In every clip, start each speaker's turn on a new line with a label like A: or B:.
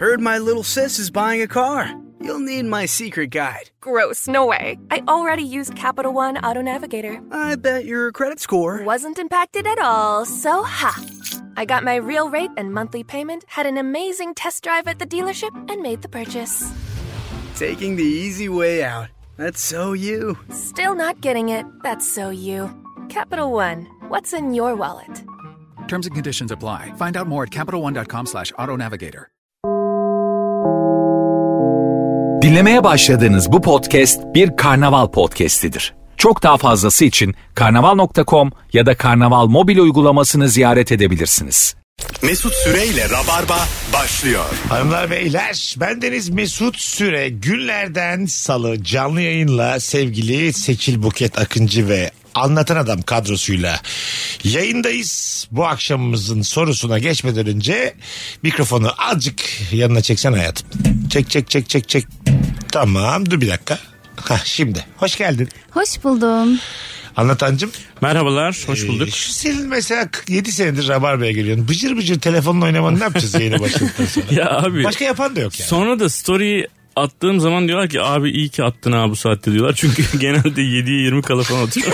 A: Heard my little sis is buying a car. You'll need my secret guide.
B: Gross, no way. I already used Capital One Auto Navigator.
A: I bet your credit score.
B: Wasn't impacted at all, so ha! I got my real rate and monthly payment, had an amazing test drive at the dealership, and made the purchase.
A: Taking the easy way out. That's so you.
B: Still not getting it. That's so you. Capital One, what's in your wallet?
C: Terms and conditions apply. Find out more at CapitalOne.com slash AutoNavigator.
D: Dinlemeye başladığınız bu podcast bir karnaval podcastidir. Çok daha fazlası için karnaval.com ya da karnaval mobil uygulamasını ziyaret edebilirsiniz.
E: Mesut Süreyle Rabarba başlıyor.
F: Hanımlar beyler bendeniz Mesut Süre günlerden salı canlı yayınla sevgili Seçil Buket Akıncı ve Anlatan Adam kadrosuyla yayındayız. Bu akşamımızın sorusuna geçmeden önce mikrofonu azıcık yanına çeksen hayatım. Çek çek çek çek çek. Tamam dur bir dakika. Hah, şimdi hoş geldin
G: Hoş buldum.
F: anlatancım.
H: Merhabalar, hoş bulduk.
F: Ee, şu senin mesela 7 senedir Rabarba'ya geliyorsun. Bıcır bıcır telefonla oynamanı ne yapacağız yayına başladıktan sonra?
H: Ya abi,
F: Başka yapan da yok yani.
H: sonra da story attığım zaman diyorlar ki abi iyi ki attın abi bu saatte diyorlar. Çünkü genelde 7'ye 20 kala falan atıyor.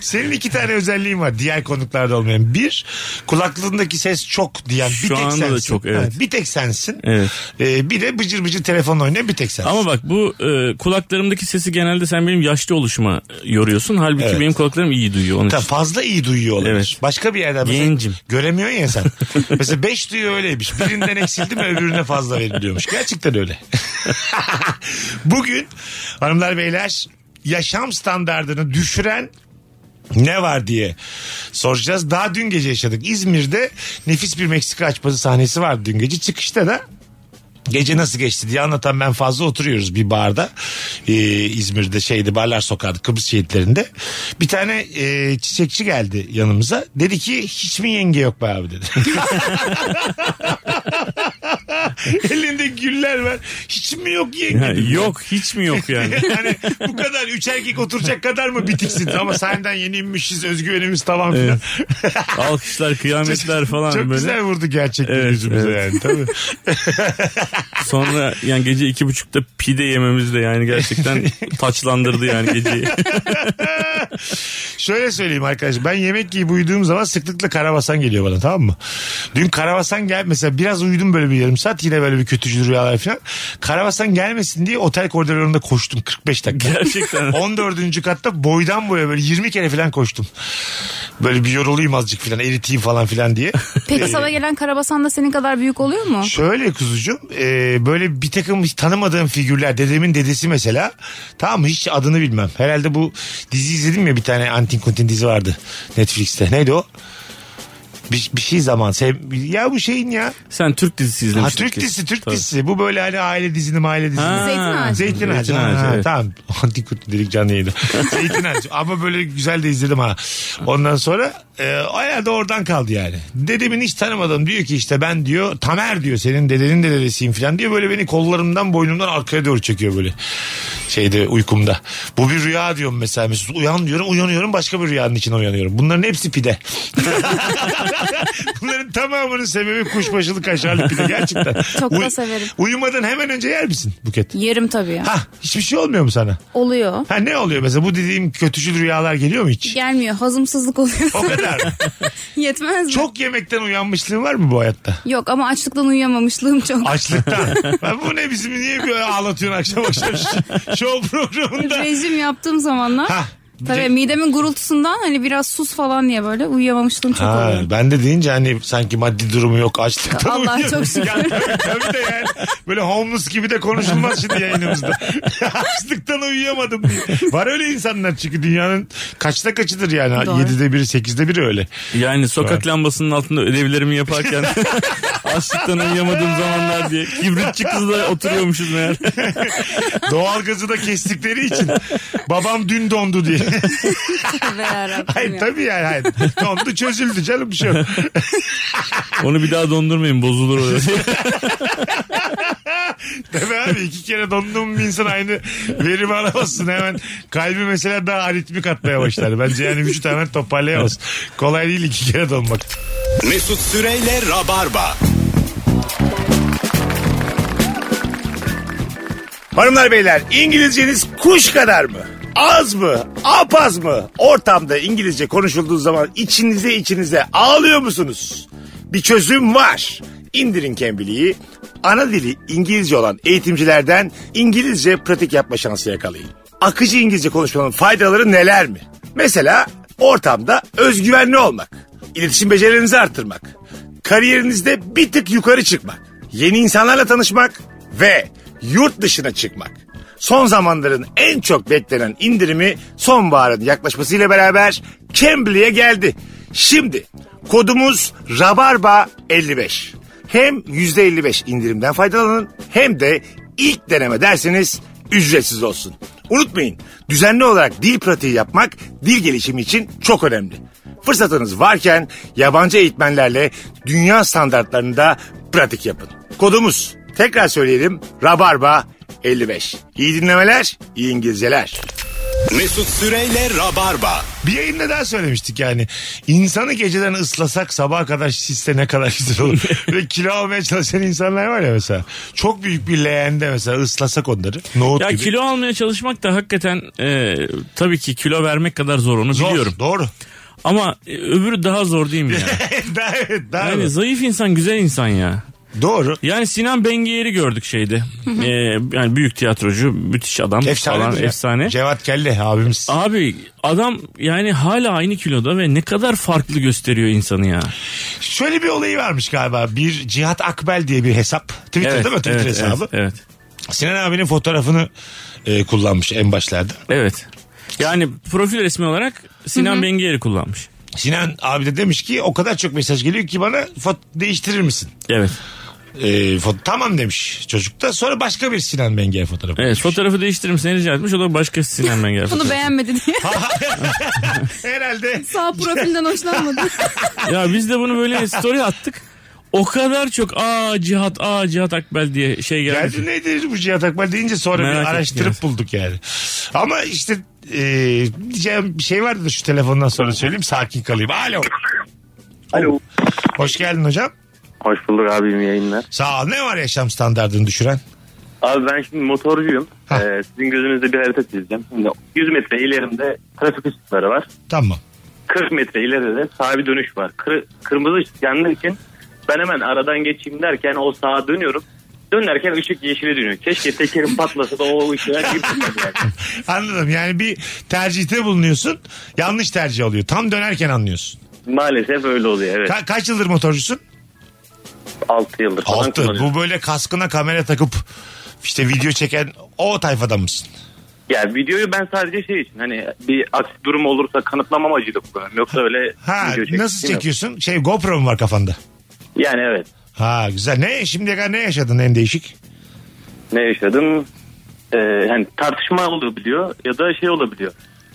F: Senin iki tane özelliğin var diğer konuklarda olmayan. Bir, kulaklığındaki ses çok diyen bir
H: Şu
F: tek
H: anda da
F: sensin.
H: çok, evet.
F: Ha, bir tek sensin.
H: Evet.
F: Ee, bir de bıcır bıcır telefonla oynayan bir tek sensin.
H: Ama bak bu e, kulaklarımdaki sesi genelde sen benim yaşlı oluşuma e, yoruyorsun. Halbuki
F: Evet.
H: benim kulaklarım iyi duyuyor. Onun
F: Ta-
H: için.
F: fazla iyi duyuyor olabilir.
H: Evet.
F: Başka bir yerden mesela
H: Gencim.
F: göremiyorsun ya sen. mesela 5 duyuyor öyleymiş. Birinden eksildi mi öbürüne fazla veriliyormuş. Gerçekten öyle. Bugün hanımlar beyler yaşam standartını düşüren ne var diye soracağız. Daha dün gece yaşadık. İzmir'de nefis bir Meksika açması sahnesi vardı dün gece. Çıkışta da Gece nasıl geçti diye anlatan ben fazla oturuyoruz bir barda. Ee, İzmir'de şeydi Barlar Sokağı'nda Kıbrıs şehitlerinde. Bir tane e, çiçekçi geldi yanımıza. Dedi ki hiç mi yenge yok be abi dedi. Elinde güller var. Hiç mi yok yenge?
H: Ya, yok hiç mi yok yani?
F: yani bu kadar üç erkek oturacak kadar mı bitiksin? Ama senden yeni inmişiz özgüvenimiz tavan filan.
H: Evet. Alkışlar, kıyametler falan
F: Çok
H: böyle.
F: güzel vurdu gerçekten
H: Evet,
F: yüzümüze
H: evet.
F: yani tabii.
H: Sonra yani gece iki buçukta pide yememiz de yani gerçekten taçlandırdı yani geceyi.
F: Şöyle söyleyeyim arkadaş ben yemek yiyip uyuduğum zaman sıklıkla karabasan geliyor bana tamam mı? Dün karabasan gel mesela biraz uyudum böyle bir yarım saat yine böyle bir kötücül rüyalar falan. Karabasan gelmesin diye otel koridorlarında koştum 45 dakika.
H: Gerçekten.
F: 14. katta boydan boya böyle 20 kere falan koştum. Böyle bir yorulayım azıcık falan eriteyim falan filan diye.
G: Peki sana gelen karabasan da senin kadar büyük oluyor mu?
F: Şöyle kuzucuğum e, böyle bir takım hiç tanımadığım figürler dedemin dedesi mesela tamam mı hiç adını bilmem. Herhalde bu dizi izledim ya bir tane Antin Kuntin dizi vardı Netflix'te neydi o? Bir, bir şey zaman sev- ya bu şeyin ya
H: Sen Türk dizisi
F: ha,
H: izlemiştin.
F: Türk
H: kesin.
F: dizisi Türk
H: Tabii.
F: dizisi bu böyle hani aile dizini aile dizini.
H: Ha,
G: Zeytin ağacı.
F: Zeytin ağacı.
H: Zeytin ağacı,
F: ha,
H: evet.
F: Tamam. Antikut dedik canlı yayını. Zeytin ağacı. Ama böyle güzel de izledim ha. Ondan sonra e, o herhalde oradan kaldı yani. Dedemin hiç tanımadım. Diyor ki işte ben diyor Tamer diyor senin dedenin de dedesiyim falan diyor. Böyle beni kollarımdan boynumdan arkaya doğru çekiyor böyle. Şeyde uykumda. Bu bir rüya diyorum mesela. Mesut uyan diyorum uyanıyorum başka bir rüyanın içine uyanıyorum. Bunların hepsi pide. Bunların tamamının sebebi kuşbaşılı kaşarlı pide gerçekten.
G: Çok da
F: Uy-
G: severim.
F: Uyumadan hemen önce yer misin Buket?
G: Yerim tabii ya.
F: Ha hiçbir şey olmuyor mu sana?
G: Oluyor.
F: Ha ne oluyor mesela bu dediğim kötücül rüyalar geliyor mu hiç?
G: Gelmiyor. Hazımsızlık oluyor.
F: O kadar. mı?
G: Yetmez mi?
F: Çok yemekten uyanmışlığın var mı bu hayatta?
G: Yok ama açlıktan uyuyamamışlığım çok.
F: Açlıktan. ben bu ne bizim niye böyle ağlatıyorsun akşam akşam ş- şov programında?
G: Rejim yaptığım zamanlar.
F: Ha.
G: Tabii midemin gurultusundan hani biraz sus falan diye böyle uyuyamamışlığım çok
F: Ha,
G: oluyor.
F: ben de deyince hani sanki maddi durumu yok açlıktan
G: Allah
F: uyuyorum.
G: çok şükür.
F: Ya, tabii, tabii de yani böyle homeless gibi de konuşulmaz şimdi yayınımızda. Açlıktan uyuyamadım diye. Var öyle insanlar çünkü dünyanın kaçta kaçıdır yani.
G: Doğru.
F: 7'de biri 8'de biri öyle.
H: Yani sokak lambasının altında ödevlerimi yaparken açlıktan uyuyamadığım zamanlar diye kibritçi kızla oturuyormuşuz meğer.
F: Doğalgazı da kestikleri için babam dün dondu diye.
G: Ve yarabbim
F: hayır
G: ya.
F: tabii yani hayır. Dondu çözüldü canım bir şey yok.
H: Onu bir daha dondurmayın bozulur orası.
F: Değil mi abi? İki kere donduğum bir insan aynı verimi alamazsın. Hemen kalbi mesela daha aritmik atmaya başlar. Bence yani vücut hemen toparlayamaz. Kolay değil iki kere donmak.
E: Mesut Süreyle Rabarba.
I: Hanımlar beyler İngilizceniz kuş kadar mı? Az mı? Apaz mı? Ortamda İngilizce konuşulduğu zaman içinize içinize ağlıyor musunuz? Bir çözüm var. İndirin Cambly'i. Ana dili İngilizce olan eğitimcilerden İngilizce pratik yapma şansı yakalayın. Akıcı İngilizce konuşmanın faydaları neler mi? Mesela ortamda özgüvenli olmak, iletişim becerilerinizi artırmak, kariyerinizde bir tık yukarı çıkmak, yeni insanlarla tanışmak ve yurt dışına çıkmak. Son zamanların en çok beklenen indirimi sonbaharın yaklaşmasıyla beraber Cambly'e geldi. Şimdi kodumuz Rabarba 55. Hem %55 indirimden faydalanın hem de ilk deneme derseniz ücretsiz olsun. Unutmayın düzenli olarak dil pratiği yapmak dil gelişimi için çok önemli. Fırsatınız varken yabancı eğitmenlerle dünya standartlarında pratik yapın. Kodumuz Tekrar söyleyelim. Rabarba 55. İyi dinlemeler, iyi İngilizceler.
E: Mesut Süreyle Rabarba.
F: Bir yayında daha söylemiştik yani. İnsanı geceden ıslasak sabaha kadar şişse ne kadar güzel olur. Ve kilo almaya çalışan insanlar var ya mesela. Çok büyük bir leğende mesela ıslasak onları. Nohut
H: Ya
F: gibi.
H: kilo almaya çalışmak da hakikaten e, tabii ki kilo vermek kadar zor onu
F: Zor,
H: biliyorum.
F: Doğru.
H: Ama e, öbürü daha zor değil mi ya?
F: daha, evet, daha
H: yani
F: doğru.
H: zayıf insan güzel insan ya.
F: doğru.
H: Yani Sinan Bengiyer'i gördük şeyde. Ee, yani büyük tiyatrocu, müthiş adam falan
F: Efsane.
H: efsane.
F: Cevat Kelle abimiz.
H: Abi adam yani hala aynı kiloda ve ne kadar farklı gösteriyor insanı ya.
F: Şöyle bir olayı varmış galiba. Bir Cihat Akbel diye bir hesap. Twitter değil mi? Twitter
H: evet,
F: hesabı.
H: Evet. evet.
F: Sinan abinin fotoğrafını e, kullanmış en başlarda.
H: Evet. Yani profil resmi olarak Sinan Bengiyer'i kullanmış.
F: Sinan abi de demiş ki o kadar çok mesaj geliyor ki bana foto değiştirir misin?
H: Evet.
F: E, foto, tamam demiş çocuk da. Sonra başka bir Sinan Bengi'ye fotoğrafı. koymuş.
H: Evet fotoğrafı değiştirir misin rica etmiş. O da başka Sinan Bengiyer.
G: Bunu
H: fotoğrafı.
G: beğenmedi diye.
F: Herhalde
G: Sağ profilden hoşlanmadı.
H: ya biz de bunu böyle story attık. O kadar çok aa Cihat aa Cihat Akbel diye şey geldi.
F: geldi nedir bu Cihat Akbel deyince sonra
H: Merak
F: bir araştırıp
H: ettim.
F: bulduk yani. Ama işte e, diyeceğim bir şey vardı da şu telefondan sonra söyleyeyim sakin kalayım. Alo.
J: Alo.
F: Hoş geldin hocam.
J: Hoş bulduk abim yayınlar.
F: Sağ ol. Ne var yaşam standartını düşüren?
J: Abi ben şimdi motorcuyum.
F: Ha.
J: Ee, sizin gözünüzde bir harita çizeceğim. Şimdi 100 metre ilerimde trafik ışıkları var.
F: Tamam.
J: 40 metre ileride de sağa bir dönüş var. Kır- kırmızı ışık yanarken ben hemen aradan geçeyim derken o sağa dönüyorum. Dönerken ışık yeşile dönüyor. Keşke tekerim patlasa da o ışığa girip yani.
F: Anladım. Yani bir tercihte bulunuyorsun. Yanlış tercih oluyor. Tam dönerken anlıyorsun.
J: Maalesef öyle oluyor evet.
F: Ka- kaç yıldır motorcusun?
J: 6 yıldır falan
F: Altı.
J: kullanıyorum.
F: Bu böyle kaskına kamera takıp işte video çeken o tayfadan mısın?
J: Yani videoyu ben sadece şey için hani bir aksi durum olursa kanıtlamam amacıyla kullanıyorum. Yoksa öyle
F: Ha
J: video çekmek
F: nasıl
J: istemiyorum.
F: çekiyorsun? Şey GoPro mu var kafanda?
J: Yani evet.
F: Ha güzel. Ne şimdiye kadar ne yaşadın en değişik?
J: ne yaşadım? Ee, hani tartışma olabiliyor ya da şey olabiliyor.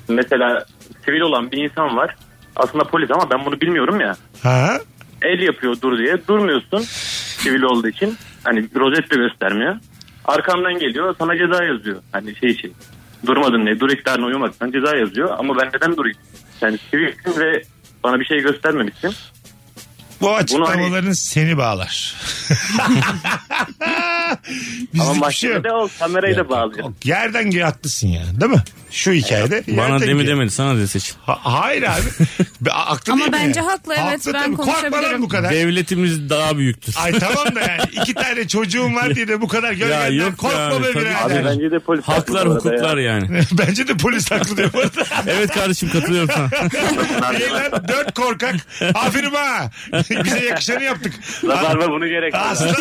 J: Mesela sivil olan bir insan var. Aslında polis ama ben bunu bilmiyorum ya.
F: Ha?
J: El yapıyor dur diye. Durmuyorsun sivil olduğu için. Hani rozet de göstermiyor. Arkamdan geliyor sana ceza yazıyor. Hani şey için. Durmadın diye. Dur iktidarına uyumaktan ceza yazıyor. Ama ben neden durayım? Yani sivilsin ve bana bir şey göstermemişsin.
F: Bu açıklamaların seni bağlar. Bizlik
J: Ama
F: bir şey
J: mahkemede
F: yok.
J: o kamerayı da bağlıyor.
F: Yok, Yerden gir haklısın ya. Değil mi? Şu hikayede.
H: Bana
F: yerden
H: demi
F: gir.
H: demedi sana dedi seçim.
F: Ha- hayır abi. Be- Aklı
G: Ama
F: değil mi
G: bence
F: ya?
G: haklı, evet. Ben
F: tabii. Korkma lan
G: konuşabilirim.
F: bu kadar.
H: Devletimiz daha büyüktür.
F: Ay tamam da yani iki tane çocuğum var diye de bu kadar gölgeden
H: yok
F: korkma
H: yani,
F: be
H: tabii
J: Abi
H: ki.
F: birader.
J: bence de polis haklı bu
H: Haklar
J: arada
H: hukuklar
J: ya.
H: yani.
F: Bence de polis haklı diyor bu arada.
H: Evet kardeşim katılıyorum sana.
F: İyi lan dört korkak. Aferin ha. Bize yakışanı yaptık.
J: Rabarba bunu gerek.
F: Aslan.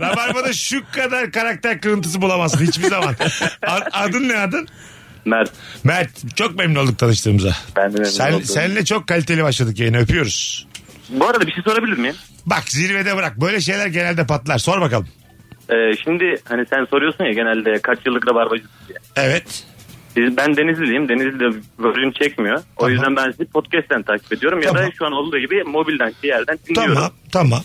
F: Rabarba'da şu kadar karakter kırıntısı bulamazsın hiçbir zaman. A- Adın ne adın?
J: Mert.
F: Mert. Çok memnun olduk tanıştığımıza.
J: Ben de memnun
F: Sen,
J: oldum.
F: Seninle çok kaliteli başladık yayına öpüyoruz.
J: Bu arada bir şey sorabilir miyim?
F: Bak zirvede bırak. Böyle şeyler genelde patlar. Sor bakalım.
J: Ee, şimdi hani sen soruyorsun ya genelde kaç yıllık rabarbacısın diye.
F: Evet.
J: Biz, ben Denizliliyim. Denizli'de bölüm çekmiyor. O
F: Tamam.
J: yüzden ben sizi podcast'ten takip ediyorum. Ya
F: Tamam.
J: da şu an olduğu gibi mobilden bir yerden dinliyorum.
F: Tamam. Tamam.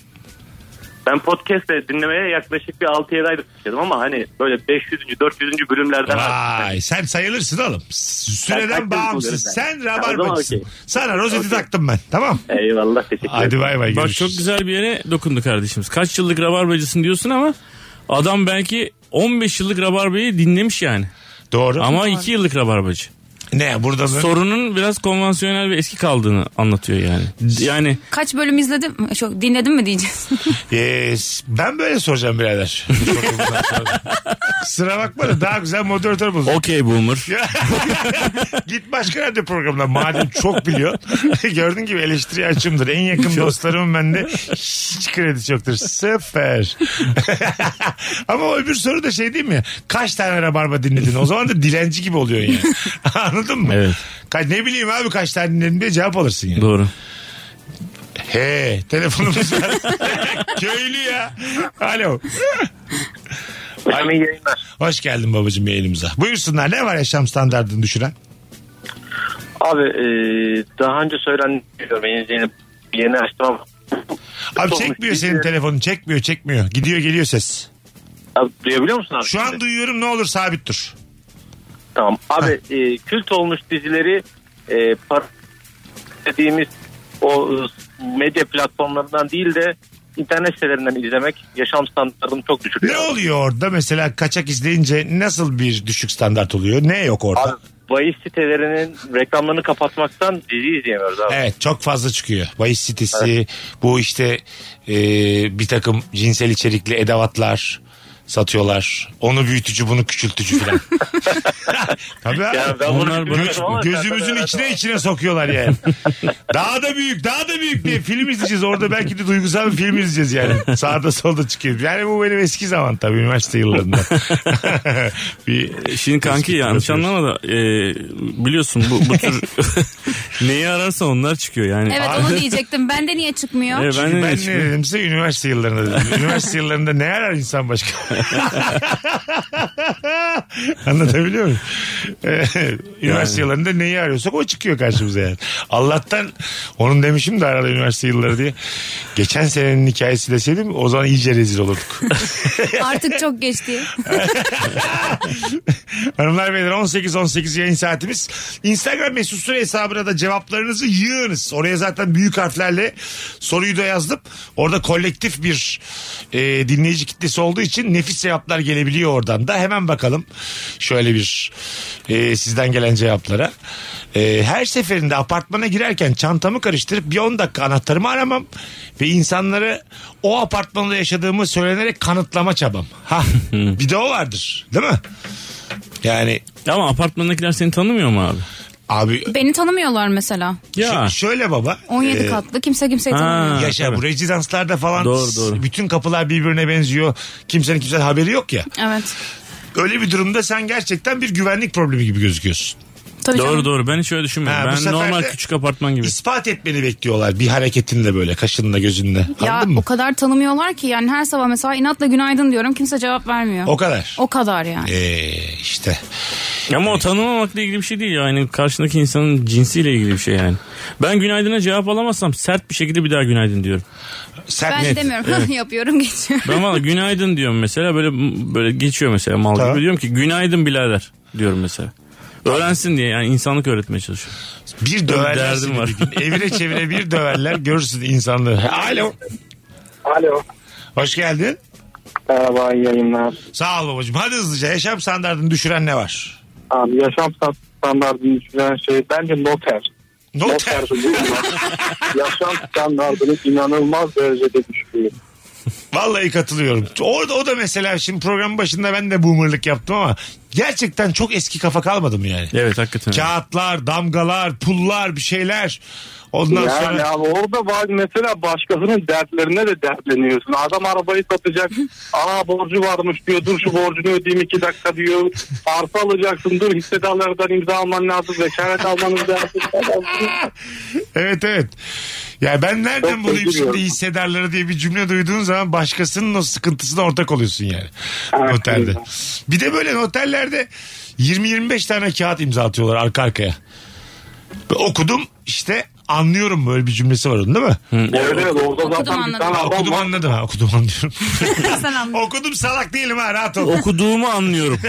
J: Ben podcast'te dinlemeye yaklaşık bir 6-7 aydır başladım ama hani böyle 500. 400. bölümlerden
F: Vay sen sayılırsın oğlum. S- Süreden
J: takdim
F: bağımsız.
J: olurum ben.
F: Sen
J: Ya, o zaman
F: rabarbacısın.
J: okey.
F: Sana rozeti
J: Okey.
F: taktım ben tamam.
J: Eyvallah teşekkür ederim.
F: Hadi bay bay
H: Bak
F: görüşürüz.
H: çok güzel bir yere dokundu kardeşimiz. Kaç yıllık rabarbacısın diyorsun ama adam belki 15 yıllık rabarbayı dinlemiş yani.
F: Doğru.
H: Ama 2 yıllık rabarbacı.
F: ne burada mı?
H: Sorunun biraz konvansiyonel ve eski kaldığını anlatıyor yani. Yani
G: Kaç bölüm izledim? Çok dinledim mi diyeceğiz.
F: Yes. Ben böyle soracağım birader. Sıra bakma da daha güzel moderatör bul.
H: okey boomer.
F: Git başka radyo programına madem çok biliyor. Gördüğün gibi eleştiri açımdır. En yakın dostlarım bende hiç kredisi yoktur. Sıfır. Ama o öbür soru da şey değil mi? Kaç tane rabarba dinledin? O zaman da dilenci gibi oluyorsun yani. Anladın mı?
H: Evet.
F: Ka- ne bileyim abi kaç tane dinledin diye cevap alırsın yani.
H: Doğru.
F: He telefonumuz var. Köylü ya. Alo.
J: Hocam iyi yayınlar.
F: Hoş geldin babacığım yayınımıza. Buyursunlar ne var yaşam standartını düşüren?
J: Abi e, daha önce söylendiğim yeni, yeni, yeni açtım ama
F: Abi
J: Olmuş,
F: çekmiyor
J: biz
F: senin
J: de-
F: telefonun çekmiyor çekmiyor. Gidiyor geliyor ses.
J: Abi, duyabiliyor musun abi?
F: Şu
J: şimdi?
F: an duyuyorum ne olur sabit dur.
J: Tamam. Abi e, kült olmuş dizileri e, par- dediğimiz o e, medya platformlarından değil de internet sitelerinden izlemek yaşam standartını çok düşürüyor.
F: Ne oluyor orada mesela kaçak izleyince nasıl bir düşük standart oluyor? Ne yok orada?
J: Abi bahis sitelerinin reklamlarını kapatmaktan dizi izleyemiyoruz abi.
F: Evet çok fazla çıkıyor. Bahis sitesi, bu işte e, bir takım cinsel içerikli edevatlar satıyorlar. Onu büyütücü bunu küçültücü falan. Tabii abi.
J: Yani ben bunu
H: Onlar
J: bilmiyorum
F: Göz-
J: ama
F: gözümüzün
J: zaten-
F: içine içine sokuyorlar yani. daha da büyük, daha da büyük diye film izleyeceğiz. Orada belki de duygusal bir film izleyeceğiz yani. Sağda solda çıkıyor. Yani bu benim eski zaman tabii üniversite yıllarında. bir
H: E, Şimdi kanki
F: Eski hatırlatıyoruz.
H: yanlış anlama da e, biliyorsun bu, bu tür neyi ararsan onlar çıkıyor yani.
G: Evet onu diyecektim. Bende niye çıkmıyor?
H: Evet, ben
F: Ben,
H: de
F: ne
H: çıkıyor.
F: dedim size üniversite yıllarında dedim. Üniversite yıllarında ne arar insan başka? Anlatabiliyor muyum? Ee, üniversite yıllarında neyi arıyorsak o çıkıyor karşımıza yani. Allah'tan onun demişim de arada üniversite yılları diye. Geçen senenin hikayesi deseydim o zaman iyice rezil olurduk.
G: Artık çok geçti.
F: Hanımlar beyler 18-18 yayın saatimiz. Instagram mesut süre hesabına da cevaplarınızı yığınız. Oraya zaten büyük harflerle soruyu da yazdım. Orada kolektif bir e, dinleyici kitlesi olduğu için nefis cevaplar gelebiliyor oradan da. Hemen bakalım şöyle bir e, sizden gelen cevaplara. E, her seferinde apartmana girerken çantamı karıştırıp bir 10 dakika anahtarımı aramam ve insanlara o apartmanda yaşadığımı söylenerek kanıtlama çabam. Ha, bir de o vardır değil mi? Yani
H: Ama apartmandakiler seni tanımıyor mu abi?
F: abi
G: Beni tanımıyorlar mesela.
H: Ya.
F: ş- şöyle baba.
G: 17
F: e,
G: katlı kimse kimseyi
H: Ha.
G: tanımıyor.
F: Yaşa
H: tabii.
F: bu rezidanslarda falan
H: Doğru, doğru.
F: bütün kapılar birbirine benziyor. Kimsenin kimsenin haberi yok ya.
G: Evet.
F: Öyle bir durumda sen gerçekten bir güvenlik problemi gibi gözüküyorsun.
G: Tabii
H: Doğru
G: canım.
H: doğru ben hiç öyle
F: Ha, bu
H: düşünmüyorum. ben
F: sefer
H: normal
F: de-
H: küçük apartman gibi.
F: İspat etmeni bekliyorlar bir hareketinle böyle kaşınla gözünle.
G: Ya
F: Anladın mı?
G: o kadar tanımıyorlar ki yani her sabah mesela inatla günaydın diyorum kimse cevap vermiyor.
F: O kadar.
G: O kadar yani.
F: Ee, işte.
H: Ama o tanımamakla ilgili bir şey değil yani karşındaki insanın cinsiyle ilgili bir şey yani. Ben günaydına cevap alamazsam sert bir şekilde bir daha günaydın diyorum.
F: Sen
G: Ben
F: net.
G: demiyorum yapıyorum geçiyorum.
H: Ben valla günaydın diyorum mesela böyle böyle geçiyor mesela mal
F: Tamam.
H: gibi diyorum ki günaydın birader diyorum mesela. Öğrensin diye yani insanlık öğretmeye çalışıyorum.
F: Bir döverler
H: derdim
F: seni
H: var.
F: bir gün. Evire çevire bir döverler görürsün insanlığı. Alo.
J: Alo.
F: Hoş geldin.
J: Merhaba iyi yayınlar.
F: Sağ ol babacığım. Hadi hızlıca yaşam standartını düşüren ne var?
J: Abi yaşam standartını düşüren şey bence noter.
F: Noter.
J: yaşam standartını inanılmaz derecede düşürüyor.
F: Vallahi katılıyorum. Orada o da mesela şimdi programın başında ben de boomerlık yaptım ama gerçekten çok eski kafa kalmadım yani.
H: Evet hakikaten.
F: Kağıtlar, damgalar, pullar bir şeyler. Ondan
J: Yani
F: sonra
J: abi orada var mesela başkasının dertlerine de dertleniyorsun. Adam arabayı satacak. Aa borcu varmış diyor. Dur şu borcunu ödeyeyim iki dakika diyor. Arsa alacaksın. Dur hissedarlardan imza alman lazım. Vekalet almanız lazım.
F: evet evet. Ya ben nereden
J: Çok
F: bulayım
J: üzülüyorum.
F: şimdi hissedarları diye bir cümle duyduğun zaman başkasının o sıkıntısına ortak oluyorsun yani.
J: Evet,
F: Noterde.
J: evet.
F: Bir de böyle noterlerde 20-25 tane kağıt imza atıyorlar arka arkaya. Ve Okudum işte anlıyorum böyle bir cümlesi var onun değil mi?
J: Evet evet orada zaten bir
G: anladım.
J: tane adam
F: Okudum
J: var.
F: anladım ha okudum anlıyorum.
G: Sen anladın.
F: okudum salak değilim ha rahat ol.
H: Okuduğumu anlıyorum.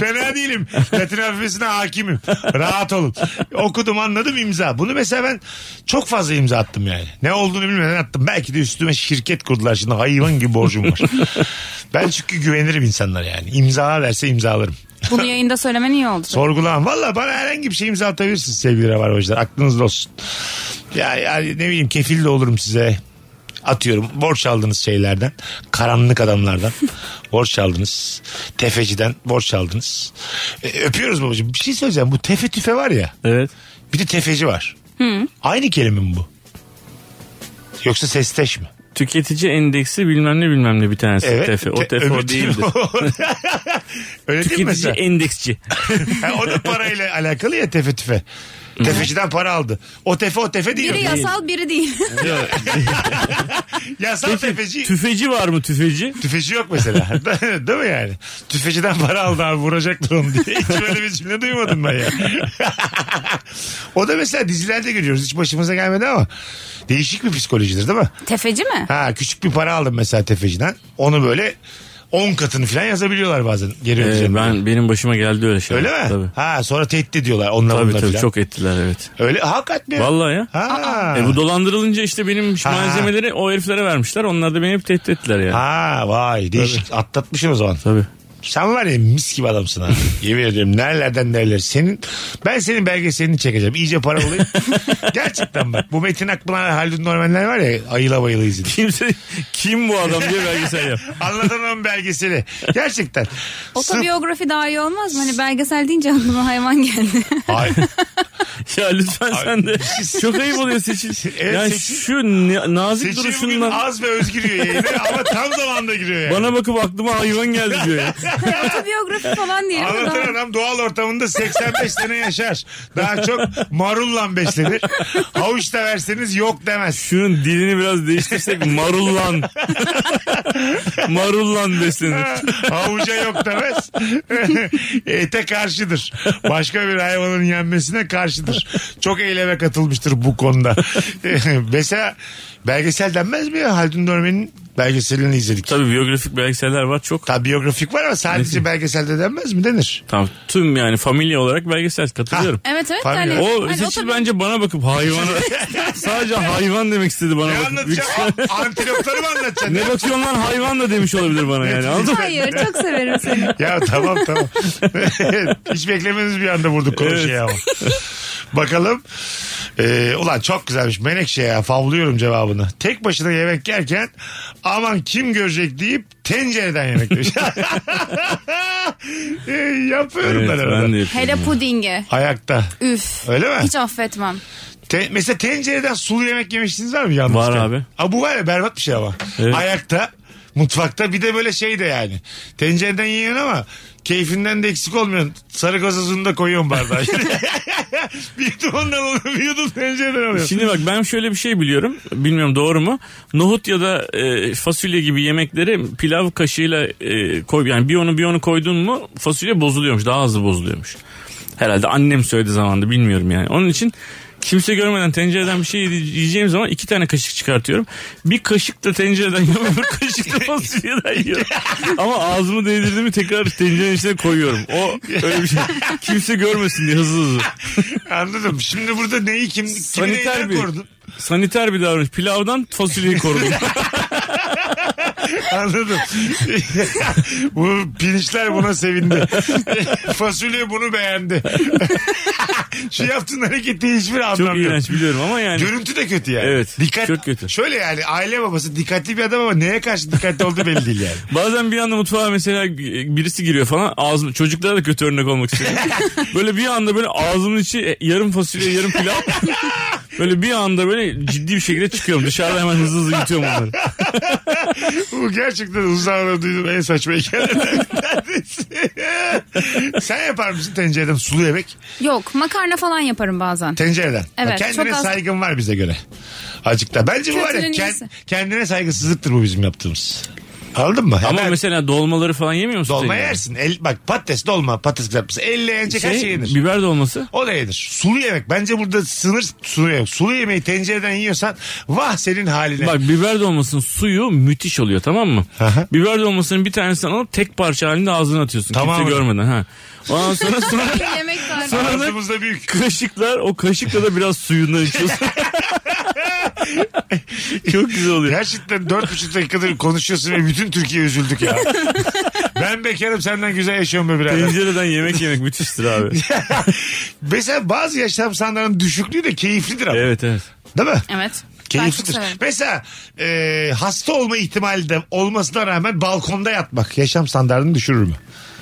F: Fena değilim. Latin alfabesine hakimim. Rahat olun. Okudum anladım imza. Bunu mesela ben çok fazla imza attım yani. Ne olduğunu bilmeden attım. Belki de üstüme şirket kurdular şimdi. Hayvan gibi borcum var. ben çünkü güvenirim insanlara yani. İmza verse imzalarım.
G: Bunu yayında söylemen iyi oldu.
F: Sorgulamam. Valla bana herhangi bir şey imza atabilirsiniz sevgili Rabarbacılar. Aklınızda olsun. Ya, yani ne bileyim kefil de olurum size. Atıyorum borç aldığınız şeylerden. Karanlık adamlardan. borç aldınız. Tefeciden borç aldınız. E, öpüyoruz babacığım. Bir şey söyleyeceğim. Bu tefe tüfe var ya.
H: Evet.
F: Bir de tefeci var. Aynı kelime mi bu? Yoksa sesteş mi?
H: Tüketici endeksi bilmem ne bilmem ne bir tanesi. Tefe. O
F: Te-
H: tefe
F: öbür
H: o değildi.
F: Öyle değil mi
H: Tüketici
F: mesela?
H: endeksçi.
F: Ha, o da parayla alakalı ya tefe tüfe. Tefeciden para aldı. O tefe o tefe değil.
G: Biri yasal biri değil.
F: Yasal tefeci.
H: Tüfeci var mı tüfeci?
F: Tüfeci yok mesela. Değil mi yani? Tüfeciden para aldı abi vuracaktır onu diye. Hiç böyle bir cümle duymadım ben ya. o da mesela dizilerde görüyoruz. Hiç başımıza gelmedi ama. Değişik bir psikolojidir değil mi?
G: Tefeci mi?
F: Ha küçük bir para aldım mesela tefeciden. Onu böyle 10 katını falan yazabiliyorlar bazen. Geri
H: Ee,
F: ödeyeceğim diye.
H: ben Benim başıma geldi öyle şey.
F: Öyle mi?
H: Tabii.
F: Ha sonra tehdit ediyorlar onlar
H: Tabii
F: bunlar
H: tabii
F: falan.
H: çok ettiler evet.
F: Öyle hakikat mi?
H: Vallahi ya.
F: Ha.
H: E bu dolandırılınca işte benim şu
F: Ha.
H: malzemeleri o heriflere vermişler. Onlar da beni hep tehdit ettiler yani.
F: ha vay değişik atlatmışsın o zaman.
H: Tabii.
F: Sen var ya mis gibi adamsın ha. Yemin ediyorum nerelerden nereler. Senin, ben senin belgeselini çekeceğim. İyice para olayım. Gerçekten bak. Bu Metin Akpınar, Haldun Normanler var ya ayıla bayıla izin.
H: Kimse kim bu adam diye belgesel yap.
F: Anlatamam belgeseli. Gerçekten. Sırf-
G: Otobiyografi daha iyi olmaz mı? Hani belgesel deyince aklıma hayvan geldi.
F: Ay,
H: Ya lütfen sen de. Çok ayıp oluyor Seçil.
F: şey Evet,
H: ya
F: Seçil-
H: şu ne- nazik
F: Seçil bugün
H: duruşundan
F: az ve öz giriyor yayına ama tam zamanda giriyor yani.
H: bana bakıp aklıma hayvan geldi diyor ya.
G: Otobiyografi falan diyelim. de daha-
F: Anlatan adam doğal ortamında 85 sene yaşar. Daha çok marulla beslenir. Havuç da verseniz yok demez.
H: Şunun dilini biraz değiştirsek marullan. marullan beslenir.
F: Havuca yok demez. Ete karşıdır. Başka bir hayvanın yenmesine karşıdır. Çok eyleme katılmıştır bu konuda. Mesela belgesel denmez mi ya? Haldun Dörmen'in belgeselini izledik.
H: Tabii biyografik belgeseller var çok.
F: Tabii biyografik var ama sadece belgeselde denmez mi denir?
H: Tamam tüm yani familya olarak belgesel katılıyorum.
G: Evet evet.
F: Pardon.
G: Yani,
H: O
G: hani
H: Seçil
G: otobi-
H: bence bana bakıp hayvana sadece hayvan demek istedi bana
F: Ne
H: bakıp. Büyük ihtimal-
F: anlatacaksın? Antilopları mı anlatacaksın?
H: Ne bakıyorsun lan hayvan da demiş olabilir bana yani anladın mı?
G: Hayır çok severim seni.
F: Ya tamam tamam. Hiç beklemediğiniz bir anda vurduk konuşuya ama. Bakalım. Ee, ulan çok güzelmiş. Menekşe ya favlıyorum cevabını. Tek başına yemek yerken aman kim görecek deyip tencereden yemek demiş. Ee, yapıyorum
H: Evet,
F: ben arada.
H: ben de yapıyorum.
G: Hele pudinge.
F: Ayakta.
G: Üf.
F: Öyle mi?
G: Hiç affetmem.
F: Te- mesela tencereden sulu yemek yemişsiniz var mı yanlış?
H: Var abi.
F: Aa, bu var ya berbat bir şey ama.
H: Evet.
F: Ayakta, mutfakta bir de böyle şey de yani. Tencereden yiyorsun ama keyfinden de eksik olmuyorsun. Sarı gazozunu da koyuyorsun bardağa. bir yudum ondan alıyorum, bir yudum tencereden alıyorum.
H: Şimdi bak ben şöyle bir şey biliyorum. Bilmiyorum doğru mu? Nohut ya da e, fasulye gibi yemekleri pilav kaşığıyla e, koy yani bir onu bir onu koydun mu fasulye bozuluyormuş. Daha hızlı bozuluyormuş. Herhalde annem söyledi zamanında bilmiyorum yani. Onun için kimse görmeden tencereden bir şey yedi- yiyeceğim zaman iki tane kaşık çıkartıyorum. Bir kaşık da tencereden yiyorum, öbür kaşık da fasulyeden yiyorum. Ama ağzımı değdirdiğimi tekrar tencerenin içine koyuyorum. O öyle bir şey. Kimse görmesin diye hızlı hızlı.
F: Anladım. Şimdi burada neyi kim, kimi
H: Saniter
F: neyden
H: bir,
F: korudun?
H: saniter bir davranış. Pilavdan fasulyeyi korudum.
F: Anladım. Bu pirinçler buna sevindi. Fasulye bunu beğendi. Şu yaptığın hareketi hiçbir anlam
H: Çok
F: yok.
H: iğrenç biliyorum ama yani.
F: Görüntü de kötü yani.
H: Evet,
F: Dikkat,
H: çok kötü.
F: Şöyle yani aile babası dikkatli bir adam ama neye karşı dikkatli olduğu belli değil yani.
H: Bazen bir anda mutfağa mesela birisi giriyor falan. Ağzım, çocuklara da kötü örnek olmak istiyorum. böyle bir anda böyle ağzımın içi e, yarım fasulye yarım pilav. böyle bir anda böyle ciddi bir şekilde çıkıyorum. Dışarıda hemen hızlı hızlı yutuyorum onları.
F: Bu gerçekten uzağına duyduğum en saçma hikayelerden birisi. Sen yapar mısın tencereden sulu yemek?
G: Yok makarna falan yaparım bazen.
F: Tencereden.
G: Evet,
F: Bak kendine
G: çok az-
F: saygın var bize göre. Acıkta. Bence bu var ya
G: Kötünün
F: kend-
G: iyisi.
F: kendine saygısızlıktır bu bizim yaptığımız. Anladın mı? Hemen
H: Ama mesela dolmaları falan yemiyor musun?
F: dolma
H: sen yani?
F: yersin. El, bak patates dolma, patates kızartması. Elle yenecek her
H: Şey,
F: şey yenir.
H: biber dolması.
F: O da yenir. Sulu yemek. Bence burada sınır sulu yemek. Sulu yemeği tencereden yiyorsan vah senin haline.
H: Bak biber dolmasının suyu müthiş oluyor tamam mı?
F: Aha.
H: biber dolmasının bir tanesini alıp tek parça halinde ağzına atıyorsun.
F: Tamam.
H: Kimse görmeden. Ha. Ondan sonra sonra
G: Yemek tarifi.
H: Sonra-
F: Ağzımızda büyük.
H: kaşıklar o kaşıkla da biraz suyunu içiyorsun. Çok güzel oluyor.
F: Gerçekten dört buçuk dakikadır konuşuyorsun ve bütün Türkiye üzüldük ya. ben bekarım senden güzel yaşıyorum be birader.
H: Tencereden yemek yemek müthiştir abi.
F: Mesela bazı yaşam standartının düşüklüğü de keyiflidir ama.
H: evet evet.
F: Değil mi?
G: Evet.
F: Keyiflidir.
G: Ben çok severim.
F: Mesela e, hasta olma ihtimali de olmasına rağmen balkonda yatmak yaşam standartını düşürür mü?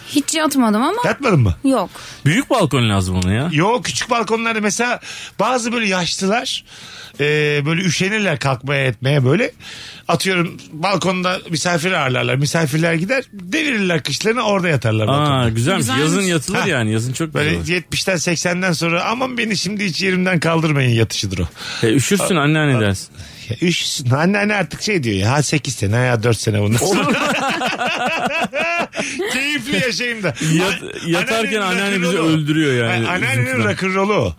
G: Hiç yatmadım ama
F: Yatmadın mı?
G: yok.
H: Büyük balkon lazım ona ya.
F: Yo küçük balkonlarda mesela bazı böyle yaşlılar e, böyle üşenirler kalkmaya etmeye böyle. Atıyorum balkonda misafir ağırlarlar. Misafirler gider devirirler kışlarını orada yatarlar. balkonda.
H: Aa güzelmiş.
G: Güzelmiş.
H: Yazın yatılır
F: Ha.
H: yani. Yazın çok
F: Böyle
H: güzel. olur.
F: 70'ten 80'den sonra aman beni şimdi hiç yerimden kaldırmayın yatışıdır o.
H: E, üşürsün anneanne dersin.
F: Ya üşüsün. Anneanne artık şey diyor ya. Ha 8 sene ha 4 sene bundan sonra. Keyifli yaşayayım da.
H: Yat-
F: An-
H: yatarken
F: anneannenin
H: anneanne bizi
F: rock'n'roll'u o.
H: öldürüyor yani.
F: Ha, Anneannenin
H: Üzüntüden.
F: rock'n'roll'u o.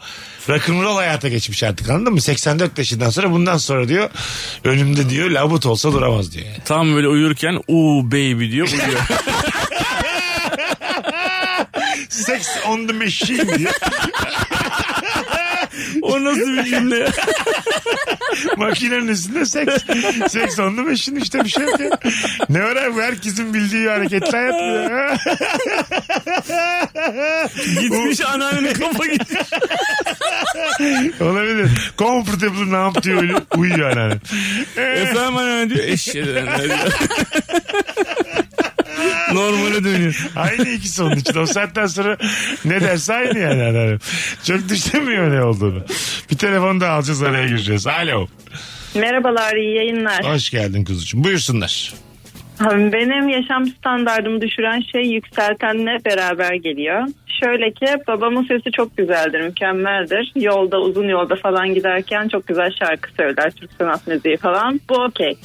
F: Rock'n'roll hayata geçmiş artık anladın mı? 84 yaşından sonra bundan sonra diyor önümde diyor labut olsa duramaz diyor. yani.
H: Tam böyle uyurken uuu baby diyor uyuyor.
F: Sex on the machine diyor.
H: o nasıl bir cümle ya?
F: Makinenin üstünde seks. Seks on the machine işte bir şey yok ya. Ne var abi herkesin bildiği hareketler yapmıyor.
H: Gitmiş anneannenin kafa gitti.
F: Olabilir. Comfortable numb diyor öyle uyuyor anneanne.
H: Efendim anneanne diyor eşeğe. Normale dönüyor.
F: Aynı ikisi onun için. O saatten sonra ne derse aynı yani anneannem. Çok düşünmüyor ne olduğunu. Bir telefon daha alacağız araya gireceğiz. Alo.
K: Merhabalar, iyi yayınlar.
F: Hoş geldin kuzucuğum. Buyursunlar.
K: Benim yaşam standartımı düşüren şey yükseltenle beraber geliyor. Şöyle ki babamın sesi çok güzeldir, mükemmeldir. Yolda, uzun yolda falan giderken çok güzel şarkı söyler, Türk sanat müziği falan. Bu okey.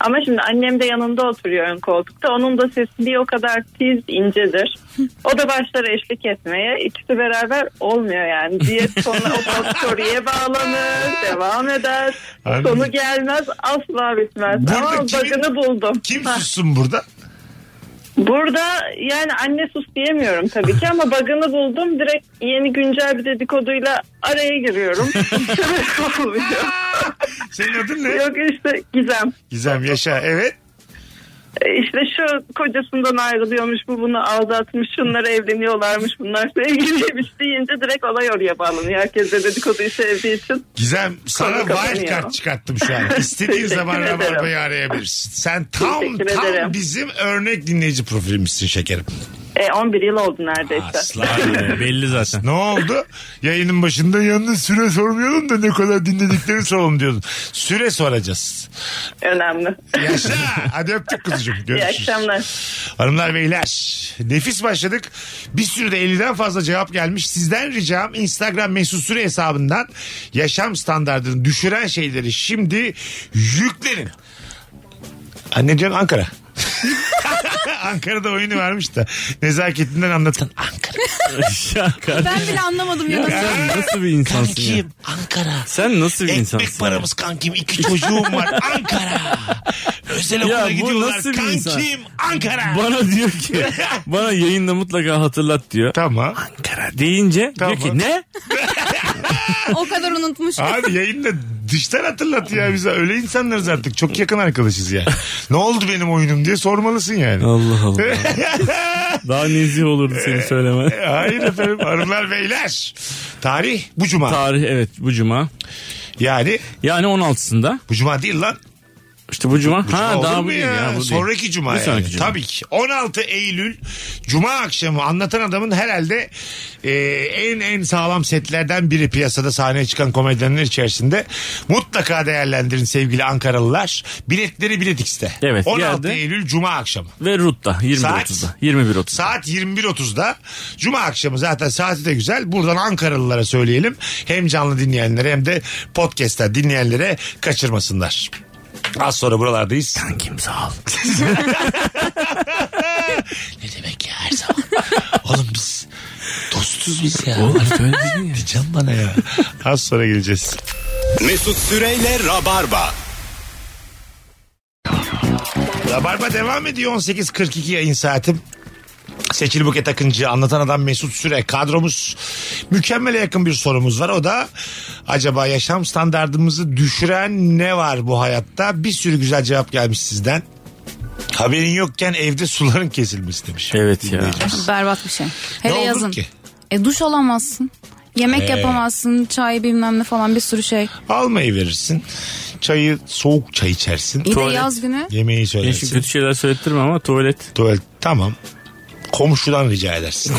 K: Ama şimdi annem de yanında oturuyor ön koltukta. Onun da sesi bir o kadar tiz, incedir. O da başlar eşlik etmeye. İkisi beraber olmuyor yani. Diye sonra o soruya bağlanır, devam eder.
F: Abi-
K: Sonu gelmez, asla bitmez.
F: Burada
K: Ama
F: kimin-
K: bug'ını buldum.
F: Kim
K: Ha.
F: sussun burada?
K: Burada yani anne sus diyemiyorum tabii ki ama bug'ını buldum. Direkt yeni güncel bir dedikoduyla araya giriyorum. Sebep olmuyor.
F: Senin adın ne?
K: Yok işte Gizem.
F: Gizem Yaşa. Evet.
K: E, İşte şu kocasından ayrılıyormuş, bu bunu aldatmış, şunlar evleniyorlarmış, bunlar sevgiliymiş deyince direkt olay oraya bağlanıyor. Herkes de dedikoduyu sevdiği için.
F: Gizem sana
K: Konu kapanıyor.
F: wild card çıkarttım şu an. İstediğin
K: Teşekkür
F: zaman
K: ederim.
F: Rabarba'yı arayabilirsin. Sen tam,
K: Teşekkür
F: tam
K: ederim.
F: bizim örnek dinleyici profilimizsin şekerim.
K: E, 11 yıl oldu neredeyse.
H: Aslan belli zaten.
F: Ne oldu? Yayının başında yalnız süre sormuyordun da ne kadar dinlediklerini soralım diyordun. Süre soracağız.
K: Önemli.
F: Yaşa. Hadi öptük kuzucuğum. Görüşürüz.
K: İyi akşamlar.
F: Hanımlar beyler nefis başladık. Bir sürü de 50'den fazla cevap gelmiş. Sizden ricam Instagram mesut süre hesabından yaşam standartını düşüren şeyleri şimdi yüklenin. Anne diyorsun Ankara. Ankara'da oyunu varmış da nezaketinden anlatan Ankara.
H: Şaka.
G: Ben bile anlamadım ya.
H: Sen nasıl bir insansın ya?
F: Kim? Ankara.
H: Sen nasıl bir insansın?
F: Ekmek paramız kankim. iki çocuğum var. Ankara. Özel okula
H: Ya bu
F: gidiyorlar.
H: nasıl bir
F: Kankim
H: insan?
F: Ankara.
H: Bana diyor ki bana yayında mutlaka hatırlat diyor.
F: Tamam.
H: Ankara deyince
F: Tamam.
H: diyor ki ne?
G: O kadar unutmuş.
F: Abi yayında dıştan hatırlat ya bize. Öyle insanlarız artık. Çok yakın arkadaşız ya. ne oldu benim oyunum diye sormalısın yani.
H: Allah Allah. Daha nezih olurdu seni söyleme.
F: Hayır efendim hanımlar beyler. Tarih bu cuma.
H: Tarih evet bu cuma.
F: yani
H: Yani 16'sında.
F: bu cuma değil lan.
H: İşte bu cuma.
F: Bu cuma
H: ha
F: olur
H: daha
F: mu
H: bu değil
F: ya?
H: ya. bu değil.
F: Sonraki cuma
H: Bir
F: yani.
H: sonraki cuma.
F: Tabii ki. 16 Eylül cuma akşamı anlatan adamın herhalde e, en en sağlam setlerden biri piyasada sahneye çıkan komedyenler içerisinde. Mutlaka değerlendirin sevgili Ankaralılar. Biletleri Bilet X'te.
H: Evet,
F: 16
H: geldi.
F: Eylül cuma akşamı.
H: Ve Rut'ta
F: Saat?
H: 21.30'da. 21.30'da.
F: Saat 21.30'da Cuma akşamı zaten saati de güzel. Buradan Ankaralılara söyleyelim. Hem canlı dinleyenlere hem de podcast'ten dinleyenlere kaçırmasınlar. Az sonra buralardayız. Sen kim sağ ol. ne demek ya her zaman. Oğlum biz dostuz biz ya. Oğlum öyle Diyeceğim bana ya. Az sonra geleceğiz.
E: Mesut Süreyle Rabarba.
F: Rabarba devam ediyor 18.42 yayın saatim. Seçil Buket Akıncı, Anlatan Adam Mesut Süre kadromuz. Mükemmele yakın bir sorumuz var. O da acaba yaşam standartımızı düşüren ne var bu hayatta? Bir sürü güzel cevap gelmiş sizden. Haberin yokken evde suların kesilmesi demiş. Evet ya.
G: Berbat bir şey. Hele
F: olur
G: yazın.
F: ki?
G: E duş alamazsın. Yemek
F: Ee.
G: yapamazsın. Çay bilmem ne falan bir sürü şey.
F: Almayı verirsin. Çayı soğuk çay içersin.
G: İyi de Tuvalet. yaz günü.
F: Yemeği söylersin.
H: Hiç kötü şeyler söylettirme ama tuvalet.
F: Tuvalet tamam. Komşudan rica edersin.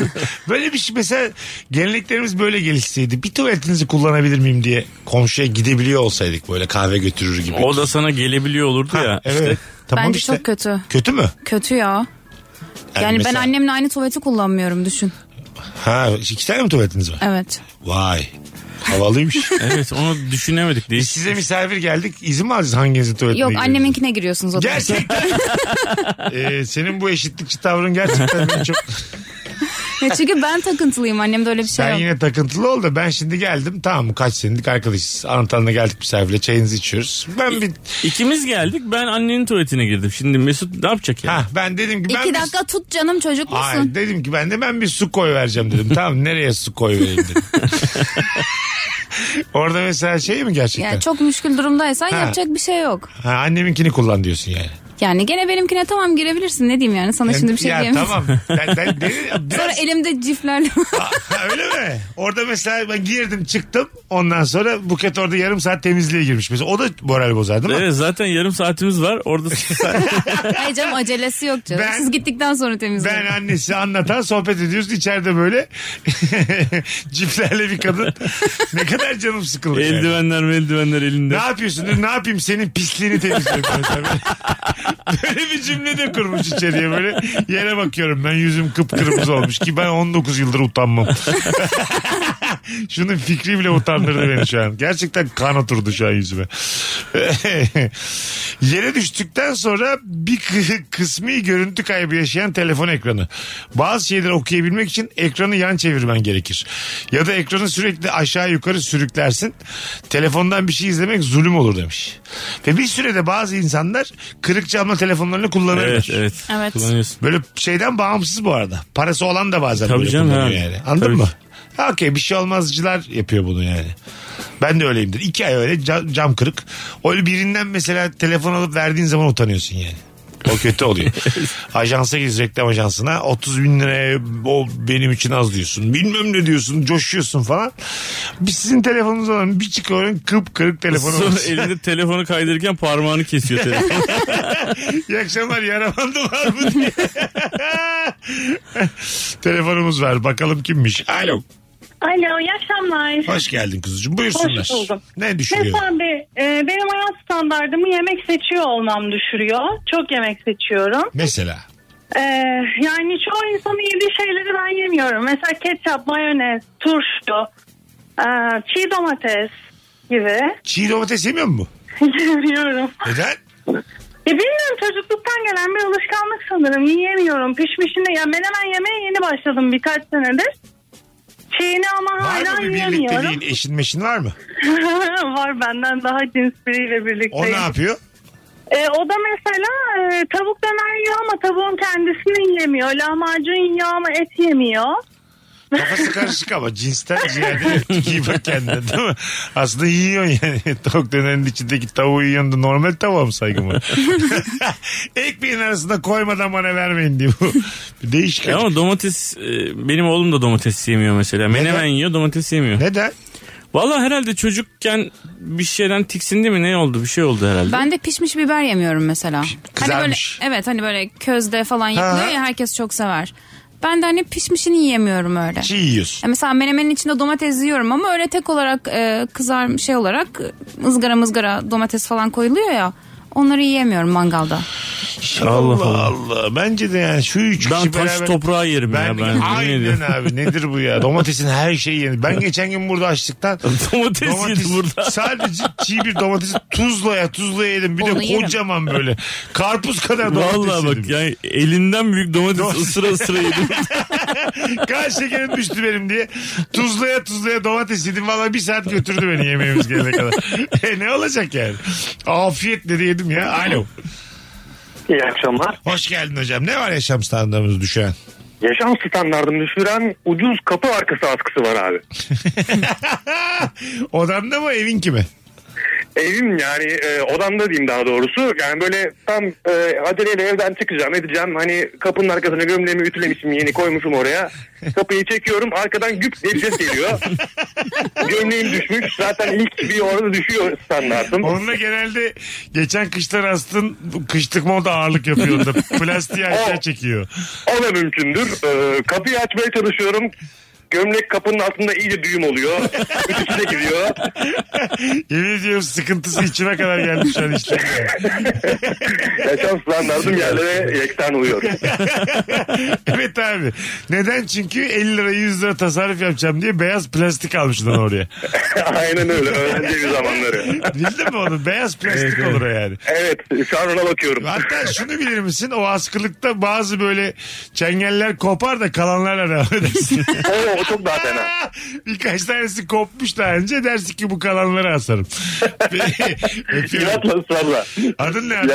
F: böyle bir şey mesela geleneklerimiz böyle gelişseydi bir tuvaletinizi kullanabilir miyim diye komşuya gidebiliyor olsaydık böyle kahve götürür gibi.
H: O da sana gelebiliyor olurdu ya.
F: Evet.
H: İşte
F: Tamam
G: Bence
F: işte.
G: çok kötü.
F: Kötü mü?
G: Kötü ya. Yani,
F: mesela-
G: ben annemle aynı tuvaleti kullanmıyorum düşün.
F: Ha iki tane mi tuvaletiniz var?
G: Evet.
F: Vay. Havalıymış.
H: evet onu düşünemedik. Değil.
F: Biz size misafir geldik. İzin mi alacağız hanginizin tuvaletine
G: Yok
F: gidiyoruz?
G: anneminkine giriyorsunuz o tuvalete.
F: Gerçekten. Ee, senin bu eşitlikçi tavrın gerçekten beni çok...
G: Ya Çünkü ben takıntılıyım. Annemde öyle bir şey
F: Sen
G: yok.
F: yine takıntılı ol da ben şimdi geldim tamam kaç senelik arkadaşız. Anlatanına geldik misafirle çayınızı içiyoruz. Ben bir
H: İkimiz geldik ben annenin tuvaletine girdim. Şimdi Mesut ne yapacak ya?
F: ha ben dedim ki ben
G: İki
F: bir-
G: dakika tut canım çocuk musun?
F: Hayır, dedim ki ben de ben bir su koy vereceğim dedim. tamam nereye su koy vereyim dedim. Orada mesela şey mi gerçekten?
G: Yani çok müşkül durumdaysan
F: Ha.
G: yapacak bir şey yok.
F: Ha, anneminkini kullan diyorsun yani.
G: Yani gene benimkine tamam girebilirsin. Ne diyeyim yani sana şimdi bir şey
F: ya,
G: diyemem.
F: tamam. Ben, ben, ben-
G: Sonra
F: biraz-
G: elimde ciflerle.
F: Ha, öyle mi? Orada mesela ben girdim çıktım. Ondan sonra Buket orada yarım saat temizliğe girmiş. Mesela o da moral bozar değil mi?
H: Evet zaten yarım saatimiz var. Orada
G: Hayır canım acelesi yok canım.
F: Ben-
G: Siz gittikten sonra temizleyin.
F: Ben annesi anlatan sohbet ediyoruz. içeride böyle ciplerle bir kadın. ne kadar canım sıkıldı. yani.
H: eldivenler eldivenler elinde.
F: Ne yapıyorsun? Dur, Ne yapayım senin pisliğini temizliyorum. ben tabii. böyle bir cümle de kurmuş içeriye böyle. Yere bakıyorum ben yüzüm kıpkırmızı olmuş ki ben 19 yıldır utanmam. Şunun fikri bile utandırdı beni şu an. Gerçekten kan oturdu şu an yüzüme. Yere düştükten sonra bir kı- kısmi görüntü kaybı yaşayan telefon ekranı. Bazı şeyleri okuyabilmek için ekranı yan çevirmen gerekir. Ya da ekranı sürekli aşağı yukarı sürüklersin. Telefondan bir şey izlemek zulüm olur demiş. Ve bir sürede bazı insanlar kırık camla telefonlarını kullanırlar.
H: Evet evet.
G: Evet.
H: Kullanıyorsun.
F: Böyle şeyden bağımsız bu arada. Parası olan da bazen
H: Tabii
F: böyle
H: canım,
F: kullanıyor
H: ha.
F: yani. Anladın
H: Tabii
F: mı?
H: ki.
F: Ha, Okey bir şey olmazcılar yapıyor bunu yani. Ben de öyleyimdir. İki ay öyle cam, cam kırık. Öyle birinden mesela telefon alıp verdiğin zaman utanıyorsun yani. O kötü oluyor. Ajansa gidiyorsun reklam ajansına 30 bin liraya o benim için az diyorsun. Bilmem ne diyorsun coşuyorsun falan. Bir sizin telefonunuz olan bir çıkıyorum kıpkırık telefonu.
H: Sonra
F: alırsın.
H: elinde telefonu kaydırırken parmağını kesiyor telefon.
F: İyi akşamlar yaramandı var mı diye. Telefonumuz var bakalım kimmiş. Alo.
K: Alo iyi akşamlar.
F: Hoş geldin kuzucuğum buyursunlar.
K: Hoş buldum.
F: Ne düşünüyorsun?
K: Mesela bir, e, benim hayat standardımı yemek seçiyor olmam düşürüyor. Çok yemek seçiyorum.
F: Mesela.
K: E, yani çoğu insanın yediği şeyleri ben yemiyorum. Mesela ketçap, mayonez, turşu, e, çiğ domates gibi
F: Çiğ domates yemiyor mu? bu?
K: yemiyorum.
F: Neden?
K: E, bilmiyorum çocukluktan gelen bir alışkanlık sanırım. Yiyemiyorum. Pişmişini ya menemen yemeye yeni başladım birkaç senedir. Çiğini ama
F: var
K: hala
F: mı bir
K: yiyemiyorum.
F: birlikteliğin eşin meşin var mı?
K: var benden daha cins biriyle
F: O ne
K: birlikteyim.
F: yapıyor?
K: E, o da mesela e, tavuk döner yiyor ama tavuğun kendisini yiyemiyor. Lahmacun yiyor ama et yemiyor.
F: Kafası karışık ama cinsten ziyade iyi bak kendine değil mi? Aslında yiyorsun yani. Tavuk dönerin içindeki tavuğu yiyorsun da normal tavuğa mı saygım var? Ekmeğin arasında koymadan bana vermeyin diye bu. Bir değişik.
H: Ya ama domates e, benim oğlum da domates yemiyor mesela. Menemen yiyor domates yemiyor.
F: Neden?
H: Valla herhalde çocukken bir şeyden tiksindi mi ne oldu bir şey oldu herhalde.
G: Ben de pişmiş biber yemiyorum mesela.
F: kızarmış.
G: Hani böyle, evet hani böyle közde falan yapılıyor
F: Ha.
G: ya herkes çok sever. Ben de hani pişmişini yiyemiyorum öyle.
F: Çiğ yiyorsun.
G: Ya mesela menemenin içinde domates yiyorum ama öyle tek olarak e, kızar şey olarak e, ızgara mızgara domates falan koyuluyor ya. Onları yiyemiyorum mangalda.
F: Allah
H: Allah
F: Allah.
H: Allah.
F: Bence de yani şu üç
H: Ben
F: kişi
H: taş
F: beraber...
H: toprağa yerim ya ben, yemin
F: Aynen
H: ediyorum.
F: abi nedir bu ya? Domatesin her şeyi yenir. Ben geçen gün burada açlıktan...
H: Domates yedi burada.
F: Sadece çiğ bir domatesi tuzla ya tuzla yedim. Bir
H: Onu
F: de
H: yerim.
F: kocaman böyle. Karpuz kadar domates
H: Vallahi
F: yedim.
H: bak yani elinden büyük domates ısıra ısıra yedim.
F: Kan şekerim düştü benim diye. Tuzlaya tuzlaya domates yedim. Valla bir saat götürdü beni yemeğimiz gelene kadar. e ne olacak yani? Afiyetle de yedim ya. Alo.
J: İyi akşamlar.
F: Hoş geldin hocam. Ne var yaşam standartımız düşen?
J: Yaşam standartımı düşüren ucuz kapı arkası askısı var abi.
F: Odanda mı evin kimi?
J: Evim yani e, odamda diyeyim daha doğrusu. Yani böyle tam e, aceleyle evden çıkacağım edeceğim. Hani kapının arkasına gömleğimi ütülemişim yeni koymuşum oraya. Kapıyı çekiyorum arkadan güp diye bir ses geliyor. Gömleğim düşmüş. Zaten ilk bir orada düşüyor standartım.
F: Onunla genelde geçen kışlar astın kışlık moda ağırlık yapıyor da plastiği
J: Oh.
F: aşağı çekiyor.
J: O da mümkündür. Ee, kapıyı açmaya çalışıyorum. Gömlek kapının altında iyice düğüm oluyor. Ütüsü de giriyor.
F: Yemin ediyorum sıkıntısı içime kadar gelmiş şu an işte.
J: Yaşam E, standartım yerlere yekten oluyor.
F: evet abi. Neden? Çünkü 50 lira 100 lira tasarruf yapacağım diye beyaz plastik almıştın oraya.
J: Aynen öyle. Öğrenci evi zamanları.
F: Bildin mi onu? Beyaz plastik
J: Evet, evet.
F: olur o yani.
J: Evet. Şu an ona bakıyorum.
F: Hatta şunu bilir misin? O askılıkta bazı böyle çengeller kopar da kalanlarla devam edersin.
J: o, çok daha fena.
F: Birkaç tanesi kopmuş daha önce dersin ki bu kalanları asarım. Öpüyorum.
J: İnatla ısrarla.
F: Adın ne? abi?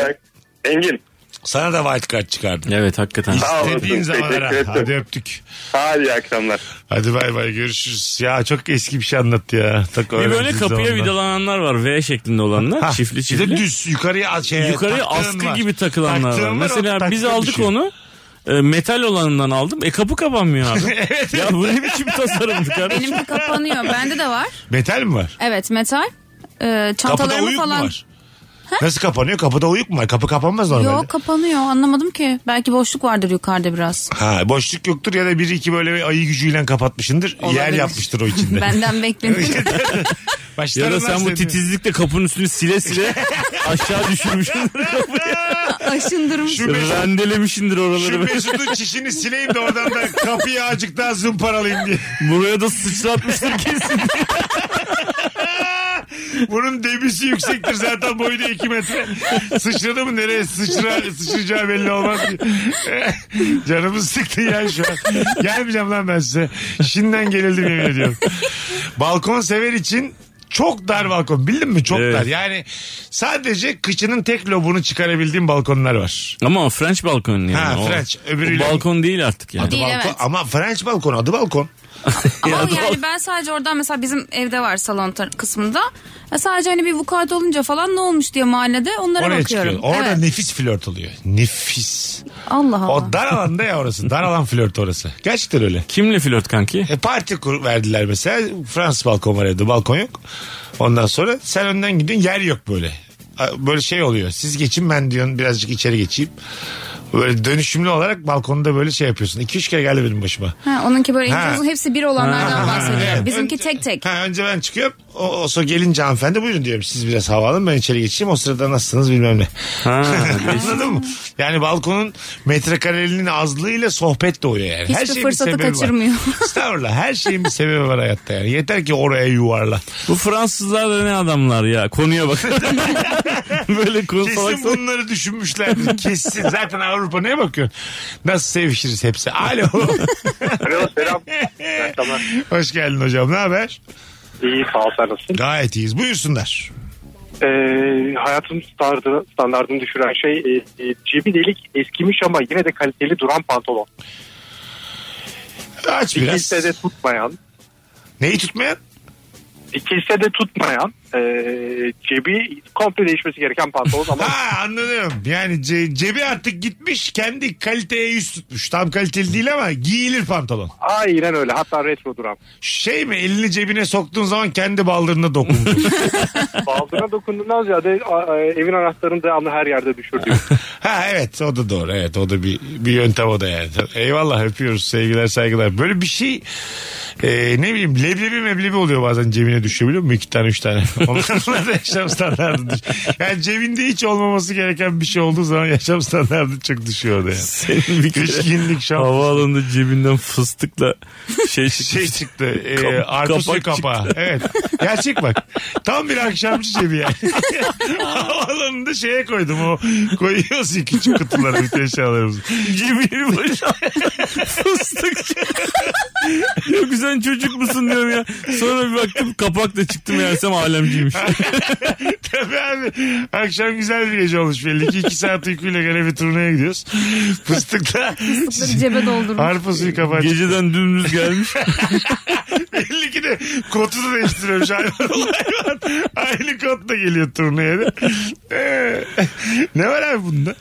J: Engin.
F: Sana da wild card çıkardım.
H: Evet hakikaten.
J: Sağ olasın.
F: İstediğin zaman
J: Teşekkür
F: ara.
J: ederim.
F: Hadi öptük.
J: Hadi iyi akşamlar.
F: Hadi bay bay görüşürüz. Ya çok eski bir şey anlattı ya. Tak
H: Bir böyle
F: öğrenci
H: kapıya
F: zamanlar.
H: vidalananlar var. V şeklinde olanlar.
F: Ha, bir de
H: çiftli çiftli.
F: düz yukarıya şey,
H: Yukarıya
F: taktığın
H: askı
F: var.
H: gibi takılanlar
F: Taktığın
H: var.
F: var, o
H: Mesela biz
F: taktığın
H: aldık
F: düşüyor.
H: onu. e, metal olanından aldım. E kapı kapanmıyor abi. ya bu ne biçim tasarımdı kardeşim?
G: Benimki kapanıyor. Bende de var.
F: Metal mi var?
G: Evet metal. Ee,
F: Kapıda
G: çantalarımı
F: uyuk mu
G: falan.
F: var? Nasıl kapanıyor? Kapıda uyuk mu var? Kapı kapanmaz normalde.
G: Yok kapanıyor anlamadım ki. Belki boşluk vardır yukarıda biraz.
F: Ha boşluk yoktur ya da biri iki böyle bir ayı gücüyle kapatmışındır. Yer
G: Olabilir.
F: yapmıştır o içinde.
G: Benden bekleniyor.
F: Başlarım
H: Ya da
F: lan
H: sen bu
F: seni.
H: titizlikle kapının üstünü sile sile aşağı düşürmüşsün.
G: Aşındırmışsın.
F: Şu Mesut-
H: Rendelemişindir
F: Şu
H: oraları.
F: Mesut'un çişini sileyim de oradan da kapıyı azıcık daha zımparalayayım diye.
H: Buraya da sıçratmıştır kesin.
F: Bunun debisi yüksektir zaten boyu da 2 metre. Sıçradı mı nereye sıçra, sıçrayacağı belli olmaz ki. Canımı sıktı ya şu an. Gelmeyeceğim lan ben size. Şimdiden gelildim yemin ediyorum. Balkon sever için çok dar balkon bildin mi çok
H: Evet.
F: dar yani sadece kıçının tek lobunu çıkarabildiğim balkonlar var.
H: Ama o French balkon yani.
F: Ha,
H: O-
F: French, öbürüyle-
H: o balkon değil artık yani.
F: Adı
G: Değil,
F: balkon,
G: evet.
F: Ama French balkon adı balkon. Şey
G: Ama
H: Ya, doğru.
G: yani ben sadece oradan mesela bizim evde var salon tar- kısmında. Ya sadece hani bir vukuat olunca falan ne olmuş diye mahallede onlara
F: Oraya
G: bakıyorum.
F: çıkıyor. Orada
G: Evet.
F: nefis flört oluyor. Nefis.
G: Allah Allah.
F: O dar alanda ya orası. Dar alan flört orası. Gerçekten öyle.
H: Kimle flört kanki?
F: E, parti kur verdiler mesela. Fransız balkon var evde. Balkon yok. Ondan sonra sen önden gidin yer yok böyle. A- Böyle şey oluyor. Siz geçin ben diyorsun birazcık içeri geçeyim. Böyle dönüşümlü olarak balkonda böyle şey yapıyorsun. İki üç kere geldi benim başıma.
G: Ha, onunki böyle
F: Ha.
G: ince uzun hepsi bir olanlardan
F: Ha. Evet.
G: bahsediyor. Bizimki tek tek.
F: Ha, önce ben çıkıyorum. O, o sonra gelince hanımefendi buyurun diyorum. Siz biraz hava alın ben içeri geçeyim. O sırada nasılsınız bilmem ne.
H: Ha,
F: Anladın mı? Yani balkonun metrekarelinin azlığıyla sohbet doğuyor yani.
G: Hiçbir
F: şeyin bir
G: fırsatı
F: sebebi var.
G: kaçırmıyor.
F: Estağfurullah her şeyin bir sebebi var hayatta yani. Yeter ki oraya yuvarla.
H: Bu Fransızlar da ne adamlar ya. Konuya bak. Böyle konu salak
F: Kesin
H: salak.
F: bunları düşünmüşlerdir. Kesin. Zaten Avrupa neye bakıyorsun? Nasıl sevişiriz hepsi. Alo.
J: Alo selam.
F: Hoş geldin hocam. Ne haber?
J: İyi sağ ol sen nasılsın?
F: Gayet iyiyiz. Buyursunlar.
J: Ee, hayatım standartı, standartını düşüren şey e, e, cebi delik eskimiş ama yine de kaliteli duran pantolon.
F: Aç biraz.
J: İkilse de tutmayan,
F: Neyi tutmayan?
J: ikilse de tutmayan e, cebi komple değişmesi gereken pantolon ama
F: Ha anladım. Yani ce- cebi artık gitmiş kendi kaliteye yüz tutmuş. Tam kaliteli değil ama giyilir pantolon.
J: aynen öyle hatta retro duran.
F: Şey mi elini cebine soktuğun zaman kendi baldırına dokunmuş.
J: Baldırına dokunduğundan ziyade a- a- evin anahtarını devamlı her yerde düşürdüğüm.
F: ha evet o da doğru. Evet o da bir, bir yöntem o da yani. Eyvallah öpüyoruz sevgiler saygılar. Böyle bir şey e, ne bileyim leblebi meblebi oluyor bazen cebine düşüyor biliyor musun? İki tane üç tane. Onlar da yaşam standartı düşüyor. Yani cebinde hiç olmaması gereken bir şey olduğu zaman yaşam standartı çok düşüyor orada yani.
H: Senin bir kere
F: Pişkinlik, şam-
H: havaalanında cebinden fıstıkla şey çıktı.
F: şey çıktı. E,
H: Kap-
F: artı su
H: kapak
F: kapağı.
H: çıktı.
F: Evet. Gerçek bak. Tam bir akşamcı cebi yani. Havaalanında şeye koydum o. Koyuyoruz ya küçük kutulara bütün eşyalarımızı.
H: Cebini boş. Fıstık. Yok sen çocuk musun diyorum ya. Sonra bir baktım kapak da çıktı meğersem alemciymiş.
F: Tabii abi. Akşam güzel bir gece olmuş belli ki. İki saat uykuyla gene bir turneye gidiyoruz. Fıstıkta.
G: Fıstıkları cebe doldurmuş.
F: Arpa suyu kapağı.
H: Geceden dümdüz gelmiş.
F: belli ki de kotu da değiştiriyormuş hayvan. hayvan. Aynı kot da geliyor turneye de. Ee, ne var abi bunda?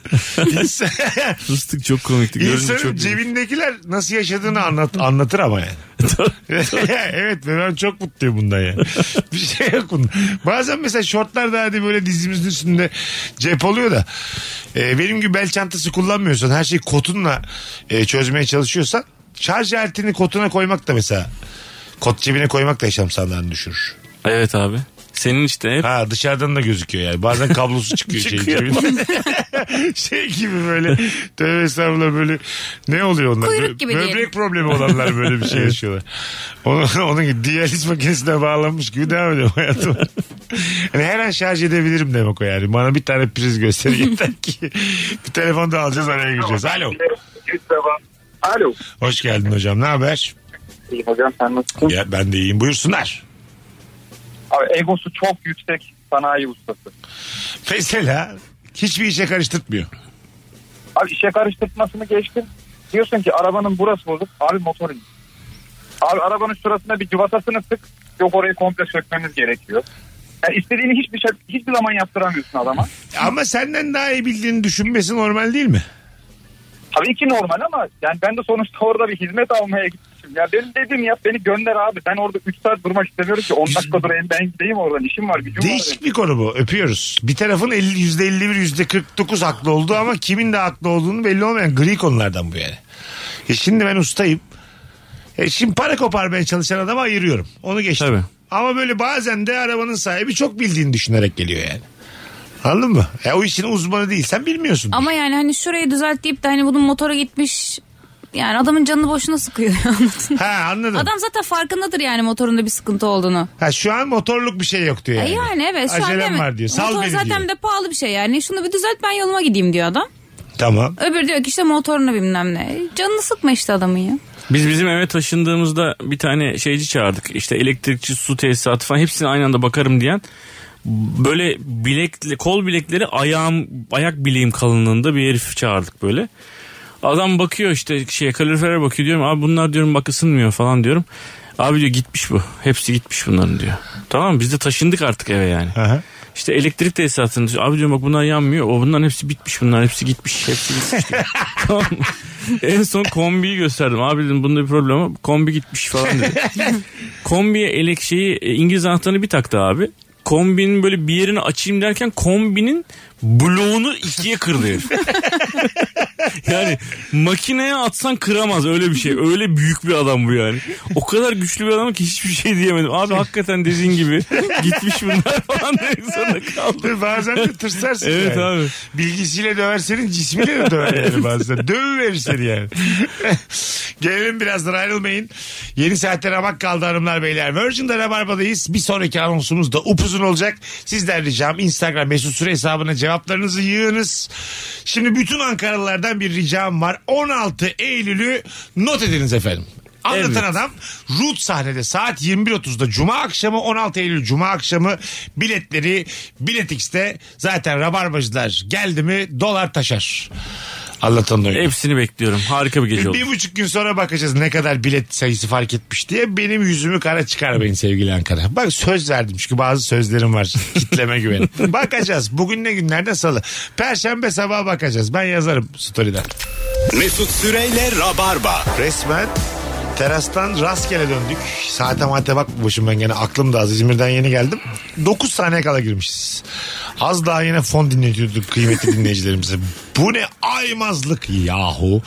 F: İnsan,
H: Fıstık çok komikti. Görünce
F: insanın
H: çok
F: cebindekiler nasıl yaşadığını anlat, anlatır ama yani. evet ve ben çok mutluyum bundan yani. Bir şey yok bunda. Bazen mesela şortlar da hadi böyle dizimizin üstünde cep oluyor da. e, benim gibi bel çantası kullanmıyorsan her şeyi kotunla e, çözmeye çalışıyorsan şarj aletini kotuna koymak da mesela kot cebine koymak da yaşam standartını düşürür.
H: Evet abi. Senin işte hep
F: Ha dışarıdan da gözüküyor yani. Bazen kablosu çıkıyor şey
H: Çıkıyor.
F: gibi. şey gibi böyle tövbe estağfurullah böyle ne oluyor onlar?
G: Kuyruk
F: Bö-
G: gibi
F: Böbrek
G: diyelim.
F: problemi olanlar böyle bir şey yaşıyorlar. Onun, onun gibi diyaliz makinesine bağlanmış gibi devam ediyor hayatım. Hani her an şarj edebilirim demek o yani. Bana bir tane priz gösterin yeter ki. bir telefon da alacağız araya gireceğiz. Alo.
L: Alo.
F: Hoş geldin hocam. Ne haber?
L: İyiyim hocam sen nasılsın?
F: Ya ben de iyiyim. Buyursunlar.
L: Abi egosu çok yüksek sanayi ustası.
F: Mesela hiçbir işe karıştırtmıyor.
L: Abi işe karıştırmasını geçtim. Diyorsun ki arabanın burası bozuk. Abi motor in. Abi arabanın şurasına bir cıvatasını sık. Yok orayı komple sökmemiz gerekiyor. Yani istediğini hiçbir şey, hiçbir zaman yaptıramıyorsun adama.
F: Ama senden daha iyi bildiğini düşünmesi normal değil mi?
L: Tabii ki normal ama yani ben de sonuçta orada bir hizmet almaya gitmişim. Ya benim dedim yap beni gönder abi. Ben orada 3 saat durmak istemiyorum ki 10 dakika durayım ben gideyim oradan işim var gücüm var.
F: Değişik bir konu bu. Öpüyoruz. Bir tarafın 50, %51, %49 haklı olduğu ama kimin de haklı olduğunu belli olmayan gri konulardan bu yani. E şimdi ben ustayım. E şimdi para koparmaya çalışan adamı ayırıyorum. Onu geçtim. Ama böyle bazen de arabanın sahibi çok bildiğini düşünerek geliyor yani. Anladın mı? E o işin uzmanı değil. Sen bilmiyorsun.
G: Ama yani hani şurayı düzelt deyip de hani bunun motora gitmiş yani adamın canını boşuna sıkıyor anladın mı?
F: Ha anladım.
G: Adam zaten farkındadır yani motorunda bir sıkıntı olduğunu.
F: Ha şu an motorluk bir şey yok diyor
G: Yani,
F: yani.
G: E yani evet şu an
F: Acelem
G: değil mi?
F: var diyor. Sal
G: Motor
F: beni
G: zaten
F: diyor.
G: de pahalı bir şey yani. Şunu bir düzelt ben yoluma gideyim diyor adam.
F: Tamam.
G: Öbürü diyor ki işte motorunu bilmem ne. E, Canını sıkma işte adamın ya.
H: Biz bizim eve taşındığımızda bir tane şeyci çağırdık. İşte elektrikçi, su tesisatı falan hepsine aynı anda bakarım diyen böyle bilekli, kol bilekleri ayağım, ayak bileğim kalınlığında bir herif çağırdık böyle. Adam bakıyor işte şeye kalorifere bakıyor diyorum abi bunlar diyorum bak ısınmıyor falan diyorum. Abi diyor gitmiş bu. Hepsi gitmiş bunların diyor. Tamam mı? biz de taşındık artık eve yani. İşte elektrik tesisatını diyor. Abi diyorum bak bunlar yanmıyor. O bunların hepsi bitmiş bunlar hepsi gitmiş. Hepsi gitmiş. diyor. tamam mı? En son kombiyi gösterdim. Abi dedim bunda bir problem var. Kombi gitmiş falan dedi. Kombiye elek şeyi e, İngiliz anahtarını bir taktı abi. Kombinin böyle bir yerini açayım derken kombinin bloğunu ikiye kırdı herif. yani makineye atsan kıramaz öyle bir şey. Öyle büyük bir adam bu yani. O kadar güçlü bir adam ki hiçbir şey diyemedim. Abi hakikaten dediğin gibi gitmiş bunlar falan demek zorunda kaldı.
F: Bazen de tırsarsın
H: Evet
F: yani.
H: abi.
F: Bilgisiyle döver senin cismiyle de döver yani bazen. Dövüverir seni yani. Gelelim birazdan ayrılmayın. Yeni saatte ramak kaldı hanımlar beyler. Virgin'de Rabarba'dayız. Bir sonraki anonsumuz da upuzun olacak. Sizden ricam Instagram mesut süre hesabına cevaplarınızı yığınız. Şimdi bütün Ankaralılardan bir ricam var. 16 Eylül'ü not ediniz efendim. Anlatan
H: Evet.
F: Adam Root sahnede saat 21.30'da Cuma akşamı 16 Eylül Cuma akşamı biletleri Biletix'te zaten Rabarbacılar geldi mi dolar taşar. Anlatan da öyle.
H: Hepsini bekliyorum. Harika bir gece oldu.
F: Bir buçuk gün sonra bakacağız ne kadar bilet sayısı fark etmiş diye. Benim yüzümü kara çıkarmayın sevgili Ankara. Bak söz verdim çünkü bazı sözlerim var. Kitleme güvenin. bakacağız. Bugün ne günlerde salı. Perşembe sabah bakacağız. Ben yazarım story'den.
E: Mesut Süreyle Rabarba.
F: Resmen Terastan rastgele döndük. Saate mate bakmamışım ben gene. Aklım da az. İzmir'den yeni geldim. 9 saniye kala girmişiz. Az daha yine fon dinletiyorduk kıymetli dinleyicilerimize. Bu ne aymazlık yahu.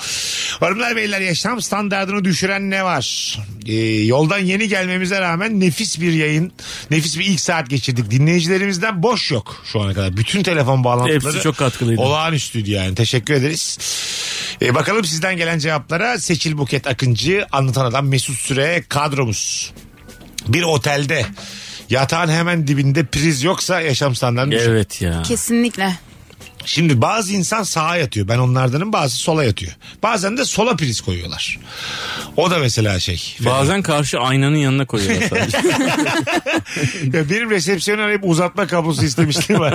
F: Hanımlar beyler yaşam standartını düşüren ne var? Ee, yoldan yeni gelmemize rağmen nefis bir yayın. Nefis bir ilk saat geçirdik. Dinleyicilerimizden boş yok şu ana kadar. Bütün telefon bağlantıları.
H: Hepsi çok katkılıydı.
F: Olağanüstüydü yani. Teşekkür ederiz. Ee, bakalım sizden gelen cevaplara Seçil Buket Akıncı, Anlatan Adam Mesut Süre kadromuz. Bir otelde yatağın hemen dibinde priz yoksa yaşam standartı
H: Evet ya.
G: Kesinlikle.
F: Şimdi bazı insan sağa yatıyor. Ben onlardanım bazı sola yatıyor. Bazen de sola priz koyuyorlar. O da mesela şey.
H: Bazen karşı aynanın yanına koyuyorlar sadece.
F: Ya benim resepsiyonu arayıp uzatma kablosu istemiştim var.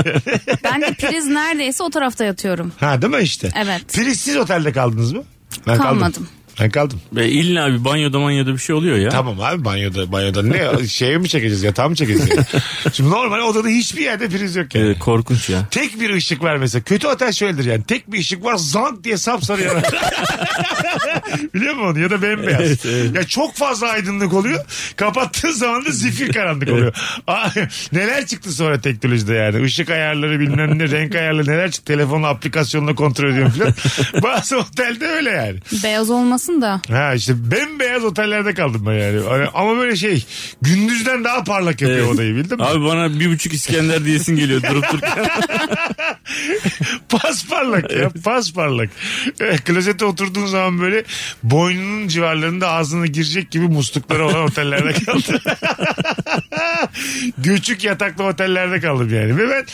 G: Ben de priz neredeyse o tarafta yatıyorum.
F: ha değil mi işte?
G: Evet.
F: Prizsiz otelde kaldınız mı? Ben
G: Kalmadım.
F: Kaldım. Ben kaldım.
H: Ve illa bir banyoda manyoda bir şey oluyor ya.
F: Tamam abi banyoda banyoda ne şeye mi çekeceğiz yatağı mı çekeceğiz? yani? Şimdi normal odada hiçbir yerde priz yok yani.
H: Evet, Ee, korkunç ya.
F: Tek bir ışık var mesela. Kötü otel şöyledir yani. Tek bir ışık var zank diye sapsarı yanar. Biliyor musun onu? Ya da bembeyaz.
H: Evet, evet.
F: Ya çok fazla aydınlık oluyor. Kapattığın zaman da zifir karanlık oluyor. Aa, neler çıktı sonra teknolojide yani. Işık ayarları bilmem ne renk ayarları neler çıktı. Telefonla aplikasyonla kontrol ediyorum falan. Bazı otelde öyle yani.
G: Beyaz olmasın da.
F: Ha işte bembeyaz otellerde kaldım ben yani. Hani Ama böyle şey gündüzden daha parlak yapıyor odayı bildin mi?
H: Abi bana bir buçuk İskender diyesin geliyor durup dururken.
F: Pasparlak ya pasparlak. E, klozete oturduğun zaman böyle boynunun civarlarında ağzına girecek gibi muslukları olan otellerde kaldım. Göçük yataklı otellerde kaldım yani. Ve ben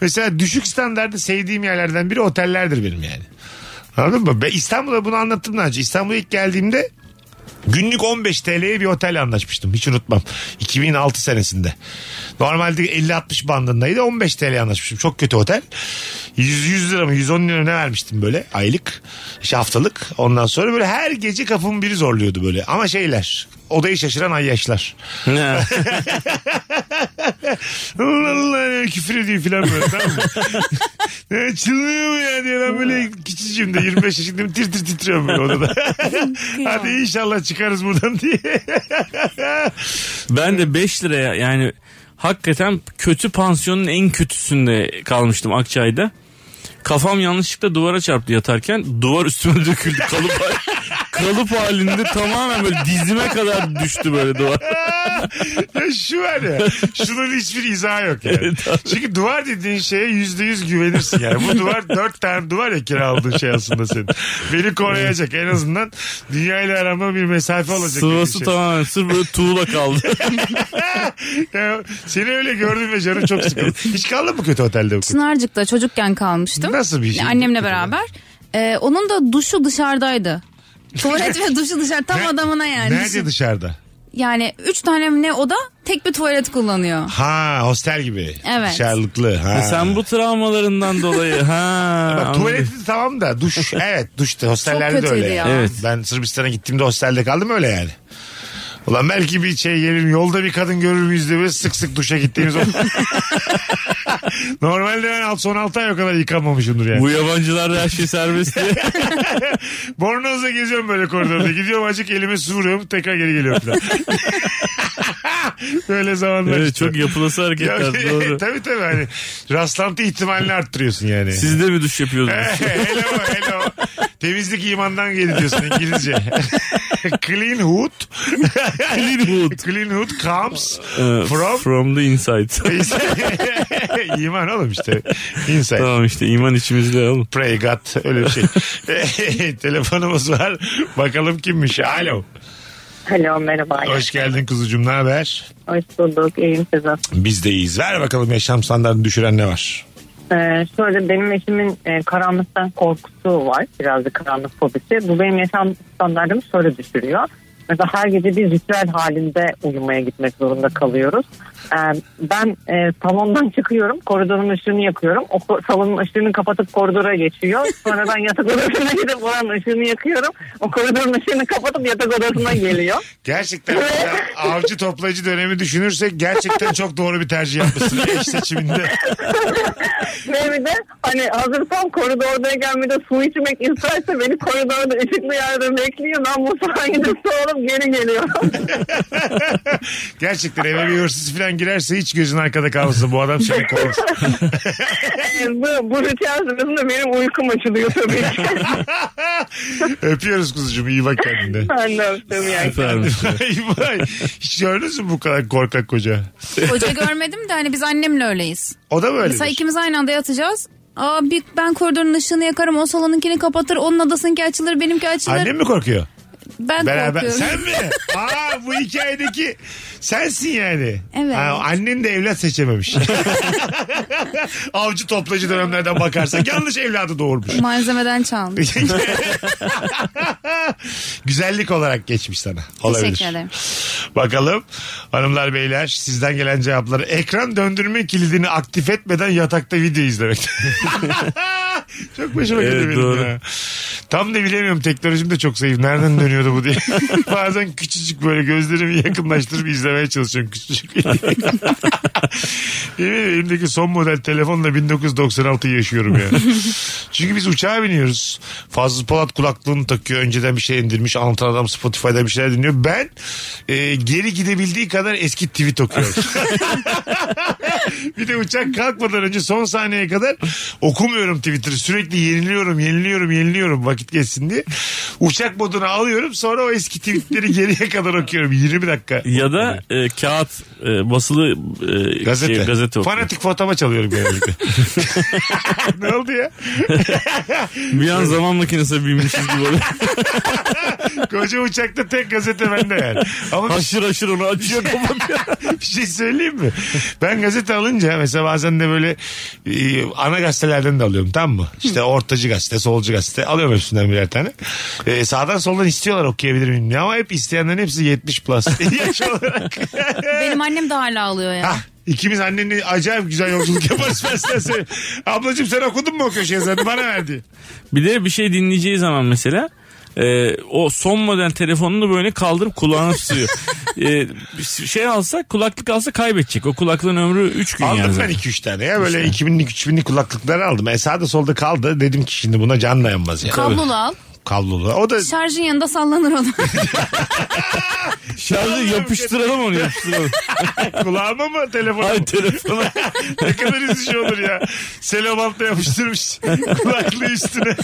F: mesela düşük standartı sevdiğim yerlerden biri otellerdir benim yani. Anladın mı? Ben İstanbul'da bunu anlattım daha önce. İstanbul'a ilk geldiğimde Günlük 15 TL'ye bir otelle anlaşmıştım. Hiç unutmam. 2006 senesinde. Normalde 50-60 bandındaydı. 15 TL'ye anlaşmıştım. Çok kötü otel. 100, 100 lira mı 110 lira mı ne vermiştim böyle aylık. işte haftalık. Ondan sonra böyle her gece kafamın biri zorluyordu böyle. Ama şeyler. Odayı şaşıran ayyaşlar. Allah Allah küfür ediyor falan böyle tamam mı? Ya Çılmıyor mu ya diye ben böyle küçücüğüm de 25 yaşındayım tir tir titriyorum böyle odada. Hadi inşallah çıkarız buradan diye.
H: ben de 5 liraya yani hakikaten kötü pansiyonun en kötüsünde kalmıştım Akçay'da. Kafam yanlışlıkla duvara çarptı yatarken duvar üstüme döküldü kalıp kalıp halinde tamamen böyle dizime kadar düştü böyle duvar.
F: Ya şu var ya şunun hiçbir izahı yok yani. Çünkü duvar dediğin şeye yüzde yüz güvenirsin yani. Bu duvar dört tane duvar ya kiraladığın şey aslında senin. Beni koruyacak en azından dünyayla arama bir mesafe olacak. dediğin
H: Sıvası
F: şey.
H: tamamen sırf böyle tuğla kaldı.
F: Ya seni öyle gördüm ve canım çok sıkıldı. Hiç kaldın mı kötü otelde?
G: Çınarcık'ta çocukken kalmıştım.
F: Nasıl bir şey?
G: Annemle beraber. Ee, onun da duşu dışarıdaydı. Tuvalet ve duşu dışarı tam
F: Ne-
G: adamına yani.
F: Nerede
G: Düşün.
F: dışarıda?
G: Yani üç tane ne oda tek bir tuvalet kullanıyor.
F: Ha hostel gibi.
G: Evet.
F: Dışarılıklı. Ha.
H: E Sen bu travmalarından dolayı ha.
F: Bak,
H: anladım.
F: tuvaleti tamam da duş evet duşta hostellerde de
G: kötüydü
F: öyle. yani.
H: ya. Evet.
F: Ben Sırbistan'a gittiğimde hostelde kaldım öyle yani. Ulan belki bir şey gelirim yolda bir kadın görür müyüz diye böyle sık sık duşa gittiğimiz oldu. Normalde ben alt, son 6 ay o kadar yıkanmamışımdır yani.
H: Bu yabancılar her şey serbest diye.
F: Bornozla geziyorum böyle koridorda. Gidiyorum acık elime su vuruyorum tekrar geri geliyorum falan. böyle zamanlar
H: Evet,
F: işte.
H: çok yapılası
F: Ya,
H: hareketler doğru.
F: tabii tabii hani rastlantı ihtimalini arttırıyorsun yani.
H: Siz de mi duş
F: Eh,
H: yapıyordunuz?
F: Şey, hello hello. Temizlik imandan gelir diyorsun İngilizce. Clean hood.
H: Clean hood.
F: Clean hood comes
H: Ee,
F: from...
H: from the inside.
F: İman oğlum işte. Inside.
H: tamam işte iman içimizde oğlum.
F: Pray God öyle bir şey. Telefonumuz var. Bakalım kimmiş. Alo.
M: Alo merhaba.
F: Hoş geldin kuzucuğum ne haber?
M: Hoş bulduk. İyiyim Sezen.
F: Biz de iyiyiz. Ver bakalım yaşam standartını düşüren ne var?
M: Ee, şöyle benim eşimin e, karanlıktan korkusu var. Birazcık karanlık fobisi. Bu benim yaşam standartımı şöyle düşürüyor. Mesela her gece bir ritüel halinde uyumaya gitmek zorunda kalıyoruz. Ee, ben e, salondan çıkıyorum. Koridorun ışığını yakıyorum. O ko- salonun ışığını kapatıp koridora geçiyor. Sonra ben yatak odasına gidip oranın ışığını yakıyorum. O koridorun ışığını kapatıp yatak odasına geliyor.
F: Gerçekten mesela avcı toplayıcı dönemi düşünürsek gerçekten çok doğru bir tercih yapmışsın eş seçiminde.
M: Ve bir de hani hazır tam koridordayken bir de su içmek isterse beni koridorda ışıklı yerde bekliyor. Ben mutfağa gidip su alıp geri geliyor.
F: Gerçekten eve bir hırsız falan girerse hiç gözün arkada kalmasın. Bu adam seni korur.
M: Evet, bu, bu ritüel sırasında benim uykum açılıyor tabii ki.
F: Öpüyoruz kuzucuğum iyi bak kendine.
M: ben de öptüm yani.
F: Vay vay. Hiç gördünüz mü bu kadar korkak koca?
G: Hoca görmedim de hani biz annemle öyleyiz.
F: O da mı
G: Mesela
F: öyle?
G: ikimiz aynı anda yatacağız. Aa bir ben koridorun ışığını yakarım o salonunkini kapatır onun odasınınki açılır benimki açılır.
F: Annem mi korkuyor?
G: Ben
F: Beraber.
G: korkuyorum.
F: Sen mi? Aa bu hikayedeki sensin yani.
G: Evet.
F: Ha, annen de evlat seçememiş. Avcı toplacı dönemlerden bakarsak yanlış evladı doğurmuş.
G: Malzemeden çalmış.
F: Güzellik olarak geçmiş sana. şey Olabilir.
G: Teşekkür ederim.
F: Bakalım hanımlar beyler sizden gelen cevapları. Ekran döndürme kilidini aktif etmeden yatakta video izlemek. çok başıma
H: Evet,
F: geldi benim
H: doğru.
F: ya. Tam da bilemiyorum teknolojim de çok zayıf. Nereden dönüyordu bu diye. Bazen küçücük böyle gözlerimi yakınlaştırıp izlemeye çalışıyorum küçücük. bir- Yemin ederim elimdeki son model telefonla 1996 yaşıyorum ya. Çünkü biz uçağa biniyoruz. Fazıl Polat kulaklığını takıyor. Önceden bir şey indirmiş. Anlatan adam Spotify'da bir şeyler dinliyor. Ben e, geri gidebildiği kadar eski tweet okuyorum. bir de uçak kalkmadan önce son saniyeye kadar okumuyorum Twitter'ı. Sürekli yeniliyorum, yeniliyorum, yeniliyorum vakit geçsin diye. Uçak moduna alıyorum. Sonra o eski tweetleri geriye kadar okuyorum. 20 dakika.
H: Ya da e, kağıt e, basılı e,
F: Gazete.
H: şey, gazete okuyor.
F: Fanatik fotoma çalıyorum genellikle. ne oldu ya?
H: Bir an zaman makinesine binmişiz gibi oluyor.
F: Koca uçakta tek gazete bende yani. Ama bir,
H: haşır haşır onu açıyor kapatıyor.
F: bir şey söyleyeyim mi? Ben gazete alınca mesela bazen de böyle e, ana gazetelerden de alıyorum tamam mı? İşte ortacı gazete, solcu gazete alıyorum hepsinden birer tane. E, sağdan soldan istiyorlar okuyabilir miyim diye ama hep isteyenlerin hepsi 70 plus. Yaş olarak.
G: Benim annem de hala alıyor ya.
F: Hah, İkimiz annenle acayip güzel yolculuk yaparız ben sana söyleyeyim. Ablacığım sen okudun mu o köşe yazarını bana verdi.
H: Bir de bir şey dinleyeceği zaman mesela e, o son model telefonunu böyle kaldırıp kulağına tutuyor. E, şey alsa kulaklık alsa kaybedecek. O kulaklığın ömrü 3 gün yani.
F: Aldım ben
H: zaten.
F: 2-3 tane ya böyle 2000'lik 3000'lik kulaklıkları aldım. E sağda solda kaldı dedim ki şimdi buna can dayanmaz ya.
G: Kablolu al.
F: Kablolu. O da
G: Şarjın yanında sallanır onu.
H: Şarjı yapıştıralım onu yapıştıralım.
F: kulağıma mı telefon?
H: Ay telefona.
F: ne kadar üzücü olur ya. Selobantla yapıştırmış kulaklığı üstüne.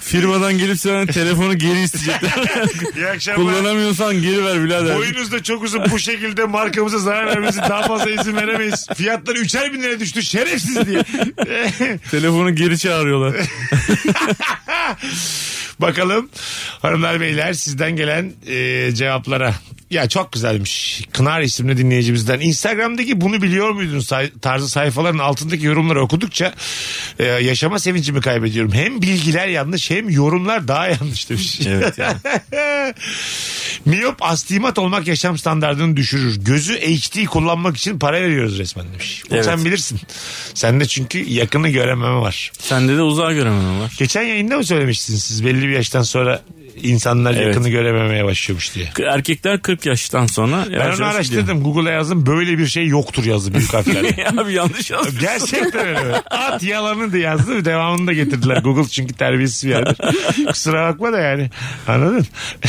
H: Firmadan gelip sana telefonu geri isteyecekler.
F: İyi akşamlar.
H: Kullanamıyorsan geri ver birader.
F: Boyunuzda çok uzun bu şekilde markamıza zarar vermesi daha fazla izin veremeyiz. Fiyatlar üçer bin lira düştü şerefsiz diye.
H: Telefonu geri çağırıyorlar.
F: Bakalım hanımlar beyler sizden gelen e, cevaplara. Ya çok güzelmiş. Kınar isimli dinleyicimizden. Instagram'daki bunu biliyor muydun say- tarzı sayfaların altındaki yorumları okudukça e, yaşama sevincimi kaybediyorum. Hem bilgiler yanlış hem yorumlar daha yanlış demiş.
H: evet ya.
F: Miyop astigmat olmak yaşam standartını düşürür. Gözü HD kullanmak için para veriyoruz resmen demiş. Bunu
H: Evet.
F: Sen bilirsin. Sende çünkü yakını görememe var.
H: Sende de uzağa göremem var.
F: Geçen yayında mı söylemiştiniz siz belli bir yaştan sonra insanlar
H: Evet.
F: yakını görememeye başlıyormuş diye.
H: Erkekler 40 yaştan sonra
F: Ben onu araştırdım. Google'a yazdım. Böyle bir şey yoktur yazdı büyük harflerle.
H: Abi yanlış yazmışsın.
F: Gerçekten öyle. At yalanı diye yazdı. Devamını da getirdiler. Google çünkü terbiyesiz bir yerdir. Kusura bakma da yani. Anladın?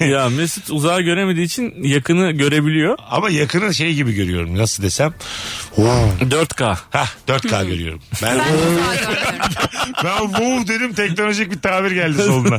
H: ya Mesut uzağa göremediği için yakını görebiliyor.
F: Ama yakını şey gibi görüyorum. Nasıl desem. Wow.
H: 4K.
F: Hah 4K görüyorum. Ben,
G: Ben uzağa görmüyorum.
F: ben wow dedim teknolojik bir tabir geldi soluna.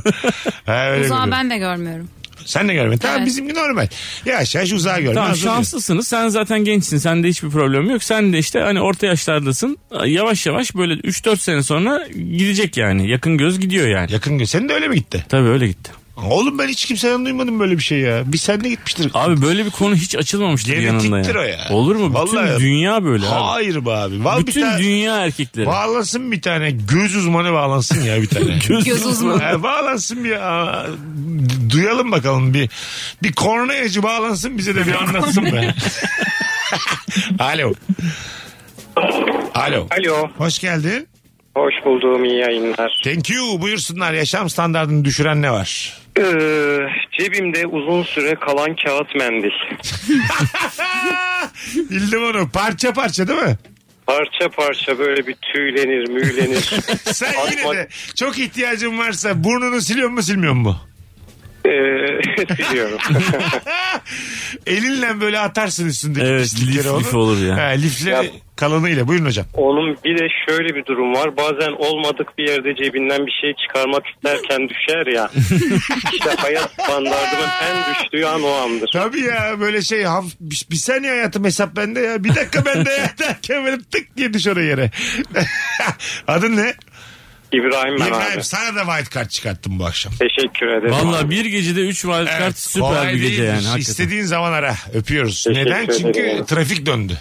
F: Ha, öyle
G: Uzağa
F: görüyorum.
G: ben de görmüyorum.
F: Sen de görmedin. Tamam
G: Evet.
F: bizimki normal. Yavaş yavaş uzağa görme.
H: Tamam
F: hazır diyor.
H: şanslısınız. Sen zaten gençsin. Sende hiçbir problem yok. Sen de işte hani orta yaşlardasın. Yavaş yavaş böyle 3-4 sene sonra gidecek yani. Yakın göz gidiyor yani.
F: Yakın gün. Senin de öyle mi gitti?
H: Tabii öyle gitti.
F: Oğlum ben hiç kimseden duymadım böyle bir şey ya. Bir sen de gitmiştir.
H: Abi böyle bir konu hiç açılmamıştır yanında
F: Genetiktir
H: ya.
F: o ya.
H: Olur mu?
F: Vallahi-
H: Bütün dünya böyle abi.
F: Hayır be abi. Vallahi
H: Bütün
F: bir tane,
H: dünya erkekleri.
F: Bağlansın bir tane. Göz uzmanı bağlansın ya bir tane.
G: Göz uzmanı.
F: Ha, bağlansın bir aa, duyalım bakalım bir bir kornayacı bağlansın bize de bir anlatsın be. Alo. Alo.
N: Alo.
F: Hoş geldin.
N: Hoş buldum iyi yayınlar.
F: Thank you. Buyursunlar. Yaşam standartını düşüren ne var?
N: Ee, cebimde uzun süre kalan kağıt mendil.
F: Bildim onu. Parça parça değil mi?
N: Parça parça böyle bir tüylenir müylenir.
F: Sen yine
N: Atmak-
F: de çok ihtiyacın varsa burnunu siliyor mu silmiyor mu?
N: Ee, Ee, siliyorum.
F: Elinle böyle atarsın üstündeki
H: Evet,
F: pislikleri
H: lif-
F: onu.
H: lif olur ya.
F: Ha, lifleri kalanıyla. Buyurun hocam.
O: Oğlum bir de şöyle bir durum var. Bazen olmadık bir yerde cebinden bir şey çıkarmak isterken düşer ya. işte hayat standartımın en düştüğü an o andır.
F: Tabii ya böyle şey haf- bir, bir saniye hayatım hesap bende ya. Bir dakika bende ya derken böyle tık diye düş oraya yere. Adın ne?
O: İbrahim ben
F: İbrahim
O: abi.
F: sana da white card çıkarttım bu akşam.
O: Teşekkür ederim.
H: Valla bir gecede 3 wild
F: Evet,
H: kart süper
F: kolay
H: bir gece
F: değilmiş.
H: yani. Hakikaten.
F: İstediğin zaman ara. Öpüyoruz.
H: Teşekkür
F: Neden? Çünkü
H: ederim.
F: trafik döndü.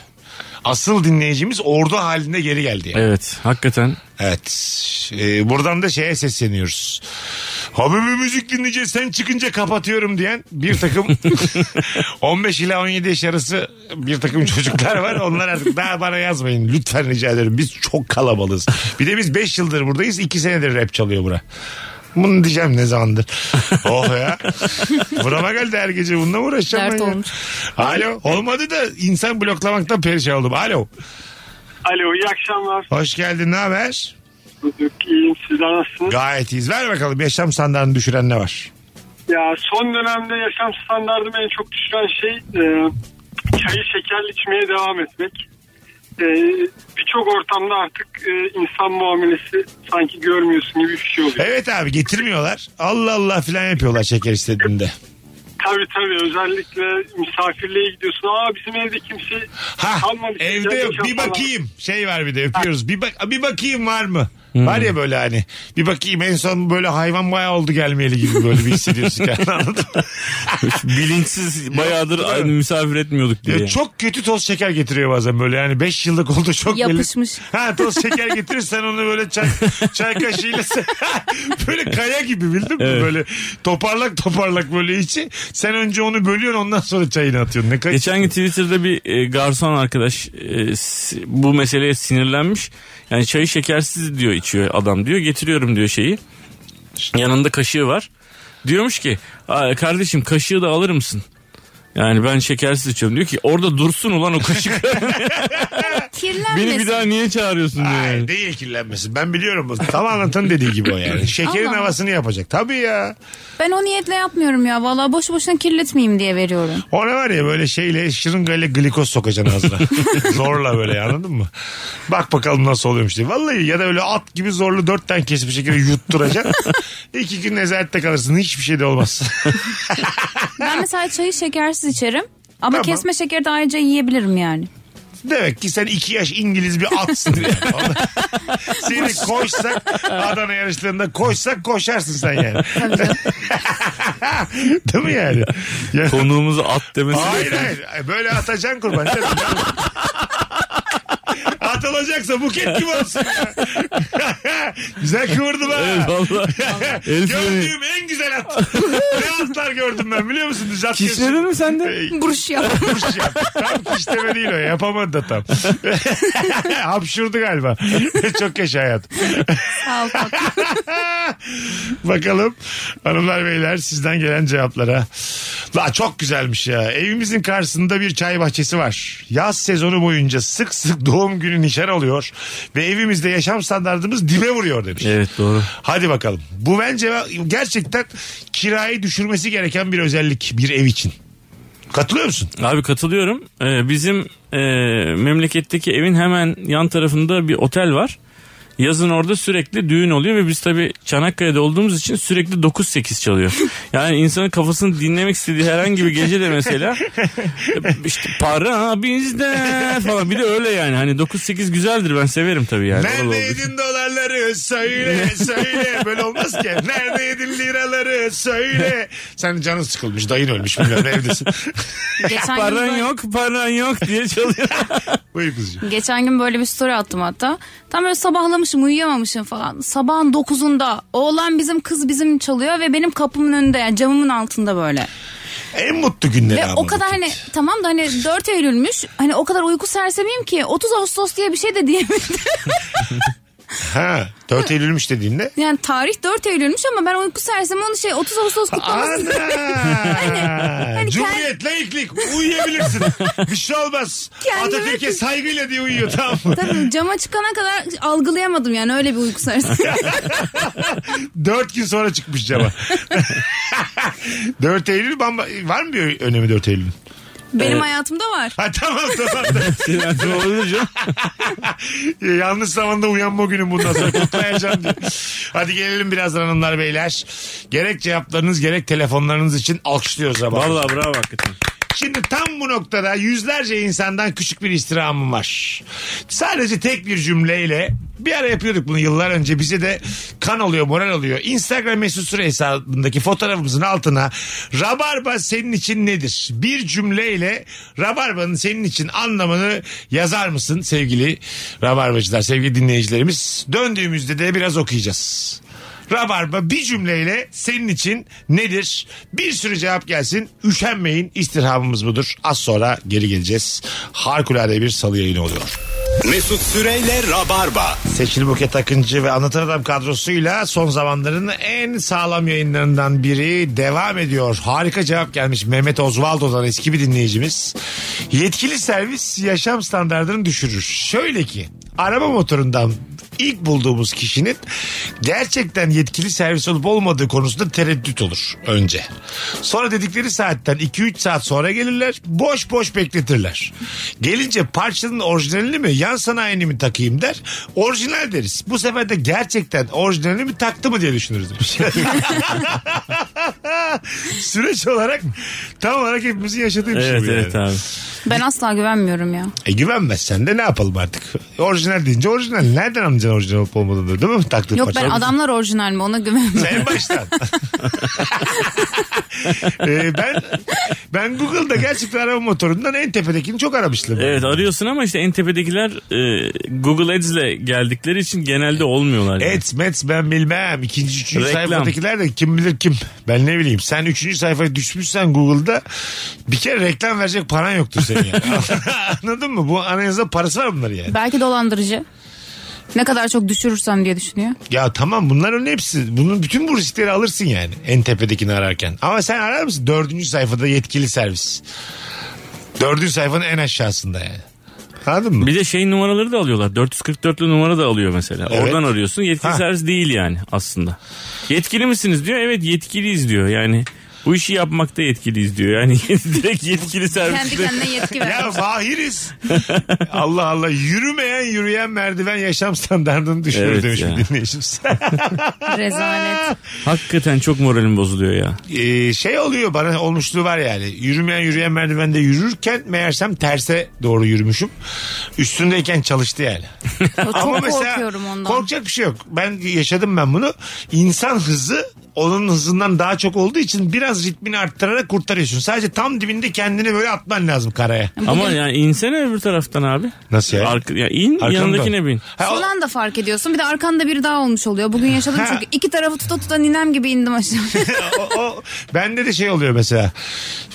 F: Asıl dinleyicimiz ordu halinde geri geldi. Yani.
H: Evet hakikaten.
F: Evet. Ee, buradan da şeye sesleniyoruz. Habibi müzik dinleyeceğiz sen çıkınca kapatıyorum diyen bir takım 15 ila 17 yaş arası bir takım çocuklar var. Onlar artık daha bana yazmayın. Lütfen rica ederim. Biz çok kalabalığız. Bir de biz 5 yıldır buradayız. 2 senedir rap çalıyor bura. Bunu diyeceğim ne zamandır. Oh ya. Burama geldi her gece. Bununla mı uğraşacağım
G: Dert
F: ben ya?
G: olmuş.
F: Alo. Olmadı da insan bloklamaktan perişan oldum. Alo.
P: Alo iyi akşamlar.
F: Hoş geldin. Ne haber?
P: İyiyim sizler nasılsınız?
F: Gayet iyiyiz. Ver bakalım yaşam standartını düşüren ne var?
P: Ya son dönemde yaşam standartımı en çok düşüren şey e, çayı şekerli içmeye devam etmek. E, Birçok ortamda artık e, insan muamelesi sanki görmüyorsun gibi bir şey oluyor.
F: Evet abi getirmiyorlar. Allah Allah filan yapıyorlar şeker istediğinde.
P: Tabii tabii özellikle misafirliğe gidiyorsun. Aa bizim evde kimse kalmadı.
F: Evde yok bir bakayım. Şey var bir de öpüyoruz. Bir, bak bir bakayım var mı? Var ya böyle hani bir bakayım en son böyle hayvan bayağı oldu gelmeyeli gibi böyle bir hissediyorsun kendini anladın mı?
H: Bilinçsiz bayağıdır
F: Yok, değil mi?
H: misafir etmiyorduk diye.
F: Ya çok kötü toz şeker getiriyor bazen böyle yani 5 yıllık oldu çok belli.
G: Yapışmış.
F: Ha toz şeker getirirsen onu böyle çay, çay kaşığıyla sen- böyle kaya gibi bildin mi? Böyle toparlak toparlak böyle içi. Sen önce onu bölüyorsun ondan sonra çayını atıyorsun. Ne kay-
H: Geçen gün Twitter'da bir e, garson arkadaş e, s- bu meseleye sinirlenmiş. Yani çayı şekersiz diyor içiyor adam diyor. Getiriyorum diyor şeyi. Yanında kaşığı var. Diyormuş ki "Aa, kardeşim kaşığı da alır mısın? Yani ben şekersiz içiyorum. Diyor ki orada dursun ulan o kaşık.
G: Kirlenmesin.
H: Beni bir daha niye çağırıyorsun diyor.
F: Ay,
H: yani.
F: değil kirlenmesin. Ben biliyorum bu. Tam anlatan dediği gibi o yani. Şekerin
G: Allah.
F: havasını yapacak. Tabii ya.
G: Ben o niyetle yapmıyorum ya. Valla boş boşuna kirletmeyeyim diye veriyorum.
F: Ona var ya böyle şeyle şırıngayla glikoz sokacaksın ağzına. Zorla böyle ya, anladın mı? Bak bakalım nasıl oluyormuş diye. Vallahi ya da öyle at gibi zorlu dört tane kesip şekeri yutturacaksın. İki gün nezarette kalırsın. Hiçbir şey de olmaz.
G: Ben mesela çayı şekersiz içerim.
F: Tamam.
G: Ama kesme şekeri de ayrıca yiyebilirim yani.
F: Demek ki sen iki yaş İngiliz bir atsın. yani. Seni koşsak Adana yarışlarında koşsak koşarsın sen yani. Değil mi yani? Ya-
H: Konuğumuzu at demesi.
F: Hayır hayır. Böyle atacaksın kurban. Sen- Atılacaksa buket gibi olsun. ya. güzel kıvırdım ha.
H: Evet, vallahi. El freni.
F: Gördüğüm en güzel at. ne atlar gördüm ben biliyor musun? Düz at E,
H: Kişledin mi sen de?
G: Buruş yap.
F: Kuş ya. Tam kişleme değil o. Yapamadı da tam. Hapşurdu galiba. Çok yaşa hayat.
G: Sağ ol tatlım.
F: Bakalım hanımlar beyler sizden gelen cevaplara. La çok güzelmiş ya. Evimizin karşısında bir çay bahçesi var. Yaz sezonu boyunca sık sık doğum günü nişan oluyor ve evimizde yaşam standartımız dibe vuruyor demiş.
H: Evet doğru.
F: Hadi bakalım. Bu bence gerçekten kirayı düşürmesi gereken bir özellik bir ev için. Katılıyor musun?
H: Abi katılıyorum. Ee, bizim e, memleketteki evin hemen yan tarafında bir otel var. Yazın orada sürekli düğün oluyor ve biz tabii Çanakkale'de olduğumuz için sürekli 9-8 çalıyor. Yani insanın kafasını dinlemek istediği herhangi bir gece de mesela işte para bizde falan bir de öyle yani. Hani 9-8 güzeldir ben severim tabii yani. Oralı olduğu için.
F: Neredeydin dolarları söyle söyle. Böyle olmaz ki. Neredeydin liraları söyle. Sen canın sıkılmış dayın ölmüş bilmem ne evdesin.
G: Geçen gün
H: paran
G: böyle-
H: yok paran yok diye çalıyor.
F: Buyur kızcığım.
G: Geçen gün böyle bir story attım hatta. Tam böyle sabahlamışım uyuyamamışım falan. Sabahın 9'unda oğlan bizim kız bizim çalıyor ve benim kapımın önünde yani camımın altında böyle.
F: En mutlu günleri
G: Ve
F: ama.
G: o kadar hani tamam da hani 4 Eylül'müş hani o kadar uyku sersemiyim ki 30 Ağustos diye bir şey de diyemedim.
F: Ha, 4 Eylül'müş dediğinde.
G: Yani tarih 4 Eylül'müş ama ben uyku sersemi onu şey 30 Ağustos kutlaması.
F: Ana!
G: hani
F: Cumhuriyet, laiklik uyuyabilirsin. Bir şey olmaz.
G: Kendime-
F: Atatürk'e saygıyla diye uyuyor tamam mı?
G: Tabii cama çıkana kadar algılayamadım yani öyle bir uyku sersemi.
F: 4 gün sonra çıkmış cama. 4 Eylül bamba... var mı bir önemi 4 Eylül'ün?
G: Benim
F: Evet.
G: hayatımda var.
F: Ha tamam tamam. Ya, Yanlış zamanda uyanma günüm bundan sonra kutlayacağım diye. Hadi gelelim birazdan hanımlar beyler. Gerek cevaplarınız gerek telefonlarınız için alkışlıyoruz ama.
H: Vallahi bravo hakikaten.
F: Şimdi tam bu noktada yüzlerce insandan küçük bir istirhamım var. Sadece tek bir cümleyle bir ara yapıyorduk bunu yıllar önce. Bize de kan oluyor, moral oluyor. Instagram mesut süre hesabındaki fotoğrafımızın altına Rabarba senin için nedir? Bir cümleyle Rabarba'nın senin için anlamını yazar mısın sevgili Rabarbacılar, sevgili dinleyicilerimiz? Döndüğümüzde de biraz okuyacağız. Rabarba bir cümleyle senin için nedir? Bir sürü cevap gelsin. Üşenmeyin istirhamımız budur. Az sonra geri geleceğiz. Harikulade bir salı yayını oluyor.
E: Mesut Süreyle Rabarba.
F: Seçil Buket Akıncı ve Anlatan Adam kadrosuyla son zamanların en sağlam yayınlarından biri devam ediyor. Harika cevap gelmiş Mehmet Osvaldo'dan eski bir dinleyicimiz. Yetkili servis yaşam standartını düşürür. Şöyle ki araba motorundan ilk bulduğumuz kişinin gerçekten yetkili servis olup olmadığı konusunda tereddüt olur önce. Sonra dedikleri saatten 2-3 saat sonra gelirler boş boş bekletirler. Gelince parçanın orijinalini mi yan sanayini mi takayım der orijinal deriz. Bu sefer de gerçekten orijinalini mi taktı mı diye düşünürüz demiş. Süreç olarak tam olarak hepimizin yaşadığı bir şey
H: Evet,
F: bu yani.
H: evet abi.
G: Ben asla güvenmiyorum ya.
F: E güvenmezsen de ne yapalım artık? Orijinal deyince orijinal. Nereden anlayacaksın orijinal olup olmadığını değil mi? Taktığın
G: Yok
F: parça.
G: ben adamlar orijinal mi ona güvenmiyorum.
F: En baştan. Ee, ben ben Google'da gerçekten araba motorundan en tepedekini çok aramıştım.
H: Evet arıyorsun ama işte en tepedekiler e, Google Ads'le geldikleri için genelde olmuyorlar. Yani.
F: Et, mets ben bilmem. İkinci, üçüncü
H: Reklam.
F: sayfadakiler de kim bilir kim. Ben ne bileyim. Sen üçüncü sayfaya düşmüşsen Google'da bir kere reklam verecek paran yoktur senin. Yani. Anladın mı? Bu anayasada parası var bunlar yani.
G: Belki dolandırıcı. Ne kadar çok düşürürsem diye düşünüyor.
F: Ya tamam bunların hepsi. Bunun bütün bu riskleri alırsın yani en tepedekini ararken. Ama sen arar mısın? Dördüncü sayfada yetkili servis. Dördüncü sayfanın en aşağısında yani. Anladın mı?
H: Bir de şey numaraları da alıyorlar. 444'lü numara da alıyor mesela.
F: Evet.
H: Oradan arıyorsun. Yetkili
F: Ha.
H: servis değil yani aslında. Yetkili misiniz diyor. Evet yetkiliyiz diyor. Yani bu işi yapmakta yetkiliyiz diyor. Yani direkt yetkili servis.
G: Kendi kendine yetki ver.
F: Ya vahiriz. Allah Allah yürümeyen yürüyen merdiven yaşam standartını düşürür
H: Evet
F: demiş
H: ya.
F: bir dinleyicimiz.
G: Rezalet.
H: Hakikaten çok moralim bozuluyor ya.
F: Ee, şey oluyor bana olmuşluğu var yani yürümeyen yürüyen merdivende yürürken meğersem terse doğru yürümüşüm. Üstündeyken çalıştı yani.
G: Çok
F: Ama mesela
G: korkuyorum ondan.
F: korkacak bir şey yok. Ben yaşadım ben bunu. İnsan hızı onun hızından daha çok olduğu için biraz ritmini arttırarak kurtarıyorsun. Sadece tam dibinde kendini böyle atman lazım karaya.
H: Ama yani insene öbür taraftan abi.
F: Nasıl yani?
H: Arka, ya in
F: Arkanı
H: yanındakine
F: dön.
H: bin.
G: Son anda fark ediyorsun. Bir de arkanda biri daha olmuş oluyor. Bugün yaşadım
F: Ha.
G: çünkü. iki tarafı tuta tuta ninem gibi indim aşağı.
F: o, o- bende de şey oluyor mesela.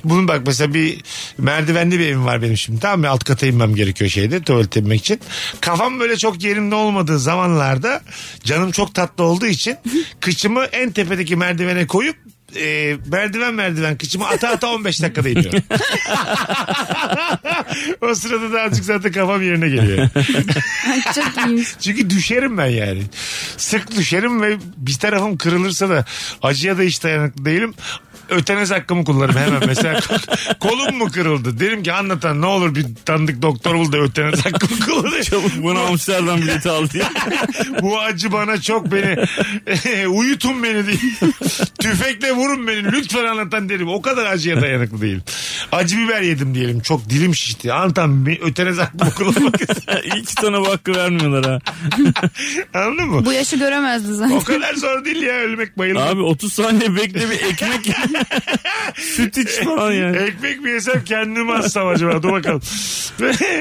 F: Bunun bak mesela bir merdivenli bir evim var benim şimdi. Tamam mı? Alt kata inmem gerekiyor şeyde tuvalete inmek için. Kafam böyle çok yerimde olmadığı zamanlarda canım çok tatlı olduğu için kıçımı en tepedeki merdivene koyup e, merdiven merdiven kıçımı ata ata 15 dakikada iniyorum. o sırada da azıcık zaten kafam yerine geliyor.
G: Çok iyiymiş.
F: Çünkü düşerim ben yani. Sık düşerim ve bir tarafım kırılırsa da acıya da hiç dayanıklı değilim. Ötenez hakkımı kullanırım hemen mesela kolum mu kırıldı derim ki anlatan ne olur bir tanıdık doktor bul da ötenez hakkımı kullanır.
H: Bunu Amsterdam bileti al diye.
F: Bu acı bana çok beni uyutun beni diye tüfekle vurun beni lütfen anlatan derim o kadar acıya dayanıklı değilim. Acı biber yedim diyelim çok dilim şişti anlatan bir ötenez hakkımı kullanmak
H: İyi ki sana bu hakkı vermiyorlar ha.
F: anladın mı?
G: Bu yaşı göremezdi zaten.
F: O kadar zor değil ya ölmek bayılmak.
H: Abi 30 saniye bekle bir ekmek ye. süt iç falan yani.
F: Ekmek mi yesem kendimi assam acaba? Dur bakalım.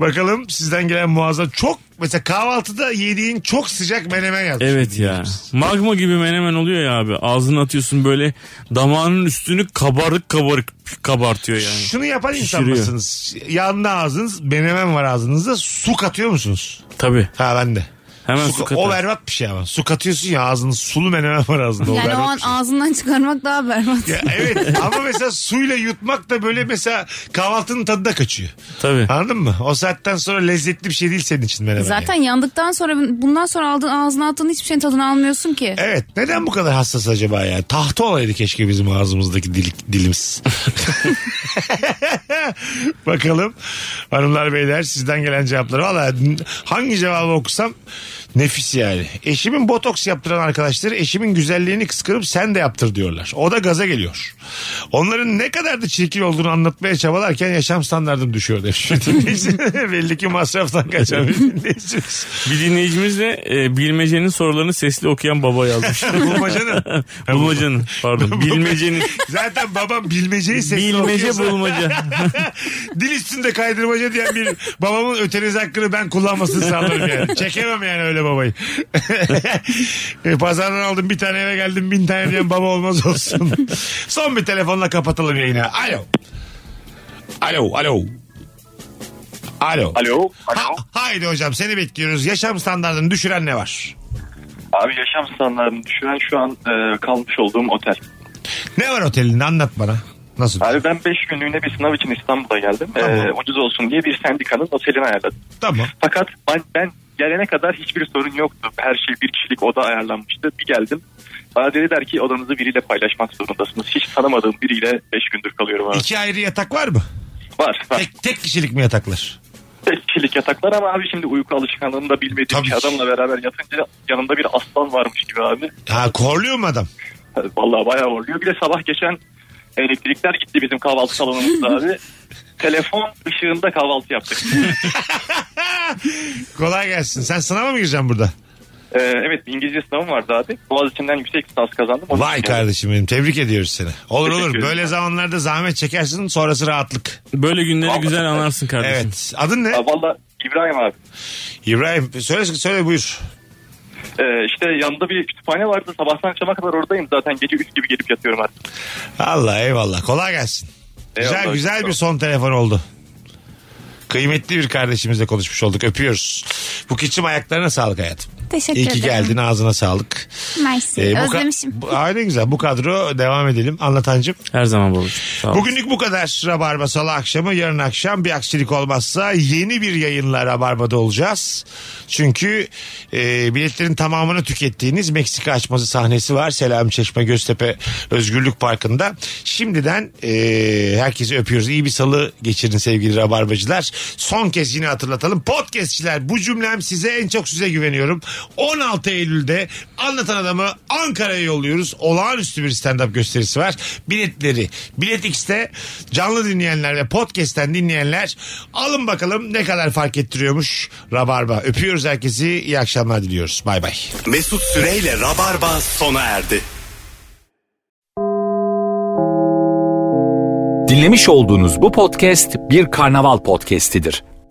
F: bakalım sizden gelen muazzam çok mesela kahvaltıda yediğin çok sıcak menemen yazmış.
H: Evet ya. Magma gibi menemen oluyor ya abi. Ağzını atıyorsun böyle damağının üstünü kabarık kabarık kabartıyor yani.
F: Şunu yapan insan
H: Pişiriyor.
F: mısınız? Yanına ağzınız menemen var ağzınızda su katıyor musunuz?
H: Tabii.
F: Ha ben de.
H: Hemen su
F: O
H: katar.
F: berbat bir şey ama. Su katıyorsun ya ağzını sulu menemen var ağzında. o
G: Yani o
F: berbat şey.
G: an ağzından çıkarmak daha berbat.
F: Ya evet ama mesela suyla yutmak da böyle mesela kahvaltının tadı da kaçıyor.
H: Tabii.
F: Anladın mı? O saatten sonra lezzetli bir şey değil senin için menemen.
G: Zaten yandıktan sonra bundan sonra aldığın ağzına attığın hiçbir şeyin tadını almıyorsun ki.
F: Evet. Neden bu kadar hassas acaba ya? Tahta olaydı keşke bizim ağzımızdaki dilik, dilimiz. Bakalım hanımlar beyler sizden gelen cevapları. Valla hangi cevabı okusam nefis yani. Eşimin botoks yaptıran arkadaşları eşimin güzelliğini kıskırıp sen de yaptır diyorlar. O da gaza geliyor. Onların ne kadar da çirkin olduğunu anlatmaya çabalarken yaşam standartım düşüyor demiş. Belli ki masraftan kaçan bir dinleyicimiz.
H: Bir dinleyicimiz de e, bilmecenin sorularını sesli okuyan baba yazmış.
F: Bulmacanın.
H: Bulmacanın pardon. Bilmecenin.
F: Zaten babam bilmeceyi sesli
H: Bilmece
F: okuyorsa-
H: bulmaca.
F: Dil üstünde kaydırmaca diyen bir babamın öteniz hakkını ben kullanmasını sağlarım yani. Çekemem yani öyle babayı. E, Pazardan aldım bir tane eve geldim bin tane diyen baba olmaz olsun. Son bir telefonla kapatalım yayını. Alo. Alo, alo. Alo.
J: Alo.
F: Ha- haydi hocam seni bekliyoruz. Yaşam standartını düşüren ne var?
J: Abi yaşam standartını düşüren şu an e, kalmış olduğum otel.
F: Ne var otelinde anlat bana. Nasıl?
J: Abi ben 5 günlüğüne bir sınav için İstanbul'a geldim. E, ucuz olsun diye bir sendikanın otelini ayarladım.
F: Tamam.
J: Fakat ben, ben gelene kadar hiçbir sorun yoktu. Her şey bir kişilik oda ayarlanmıştı. Bir geldim. Bana dediler ki odanızı biriyle paylaşmak zorundasınız. Hiç tanımadığım biriyle 5 gündür kalıyorum abi.
F: İki ayrı yatak var mı?
J: Var. var. Tek,
F: Tek kişilik mi yataklar?
J: kişilik yataklar ama abi şimdi uyku alışkanlığını da bilmediğim bir adamla beraber yatınca yanımda bir aslan varmış gibi abi.
F: Ha korluyor mu adam?
J: Vallahi bayağı horluyor. Bir de sabah geçen elektrikler gitti bizim kahvaltı salonumuzda abi. Telefon ışığında kahvaltı yaptık.
F: Kolay gelsin. Sen sınava mı gireceksin burada?
J: Ee, evet İngilizce sınavım vardı abi. Boğaziçi'nden yüksek lisans kazandım. Onun
F: Vay
J: için-
F: kardeşim benim tebrik ediyoruz seni. Olur
J: Teşekkür
F: olur
J: ederim.
F: böyle zamanlarda zahmet çekersin sonrası rahatlık.
H: Böyle günleri güzel anlarsın kardeşim.
F: Evet adın ne?
J: Valla İbrahim abi.
F: İbrahim söyle, söyle buyur.
J: Ee, işte yanında bir kütüphane vardı. Sabahtan akşama kadar oradayım. Zaten gece 3 gibi gelip yatıyorum artık.
F: Allah eyvallah kolay gelsin. güzel
J: Eyvallah.
F: güzel bir son telefon oldu. Kıymetli bir kardeşimizle konuşmuş olduk öpüyoruz. Bu kiçim ayaklarına sağlık hayatım.
G: Teşekkür
F: İyi ki
G: ederim.
F: geldin ağzına sağlık.
G: Mersi.
F: Ee, bu ka-
G: Özlemişim.
F: bu, Aa, ne güzel bu kadro devam edelim anlatancım.
H: Her zaman babacığım. Sağ ol.
F: Bugünlük bu kadar Rabarba Salı akşamı. Yarın akşam bir aksilik olmazsa yeni bir yayınla Rabarba'da olacağız. Çünkü e, biletlerin tamamını tükettiğiniz Meksika açması sahnesi var. Selam Çeşme Göztepe Özgürlük Parkı'nda. Şimdiden e, herkesi öpüyoruz. İyi bir salı geçirin sevgili Rabarbacılar. Son kez yine hatırlatalım. Podcastçiler bu cümlem size en çok size güveniyorum. 16 Eylül'de Anlatan Adamı Ankara'ya yolluyoruz. Olağanüstü bir stand-up gösterisi var. Biletleri Bilet X'te canlı dinleyenler ve podcast'ten dinleyenler alın bakalım ne kadar fark ettiriyormuş Rabarba. Öpüyoruz herkesi. İyi akşamlar diliyoruz. Bay bay.
E: Mesut Süreyle Rabarba sona erdi.
D: Dinlemiş olduğunuz bu podcast bir karnaval podcastidir.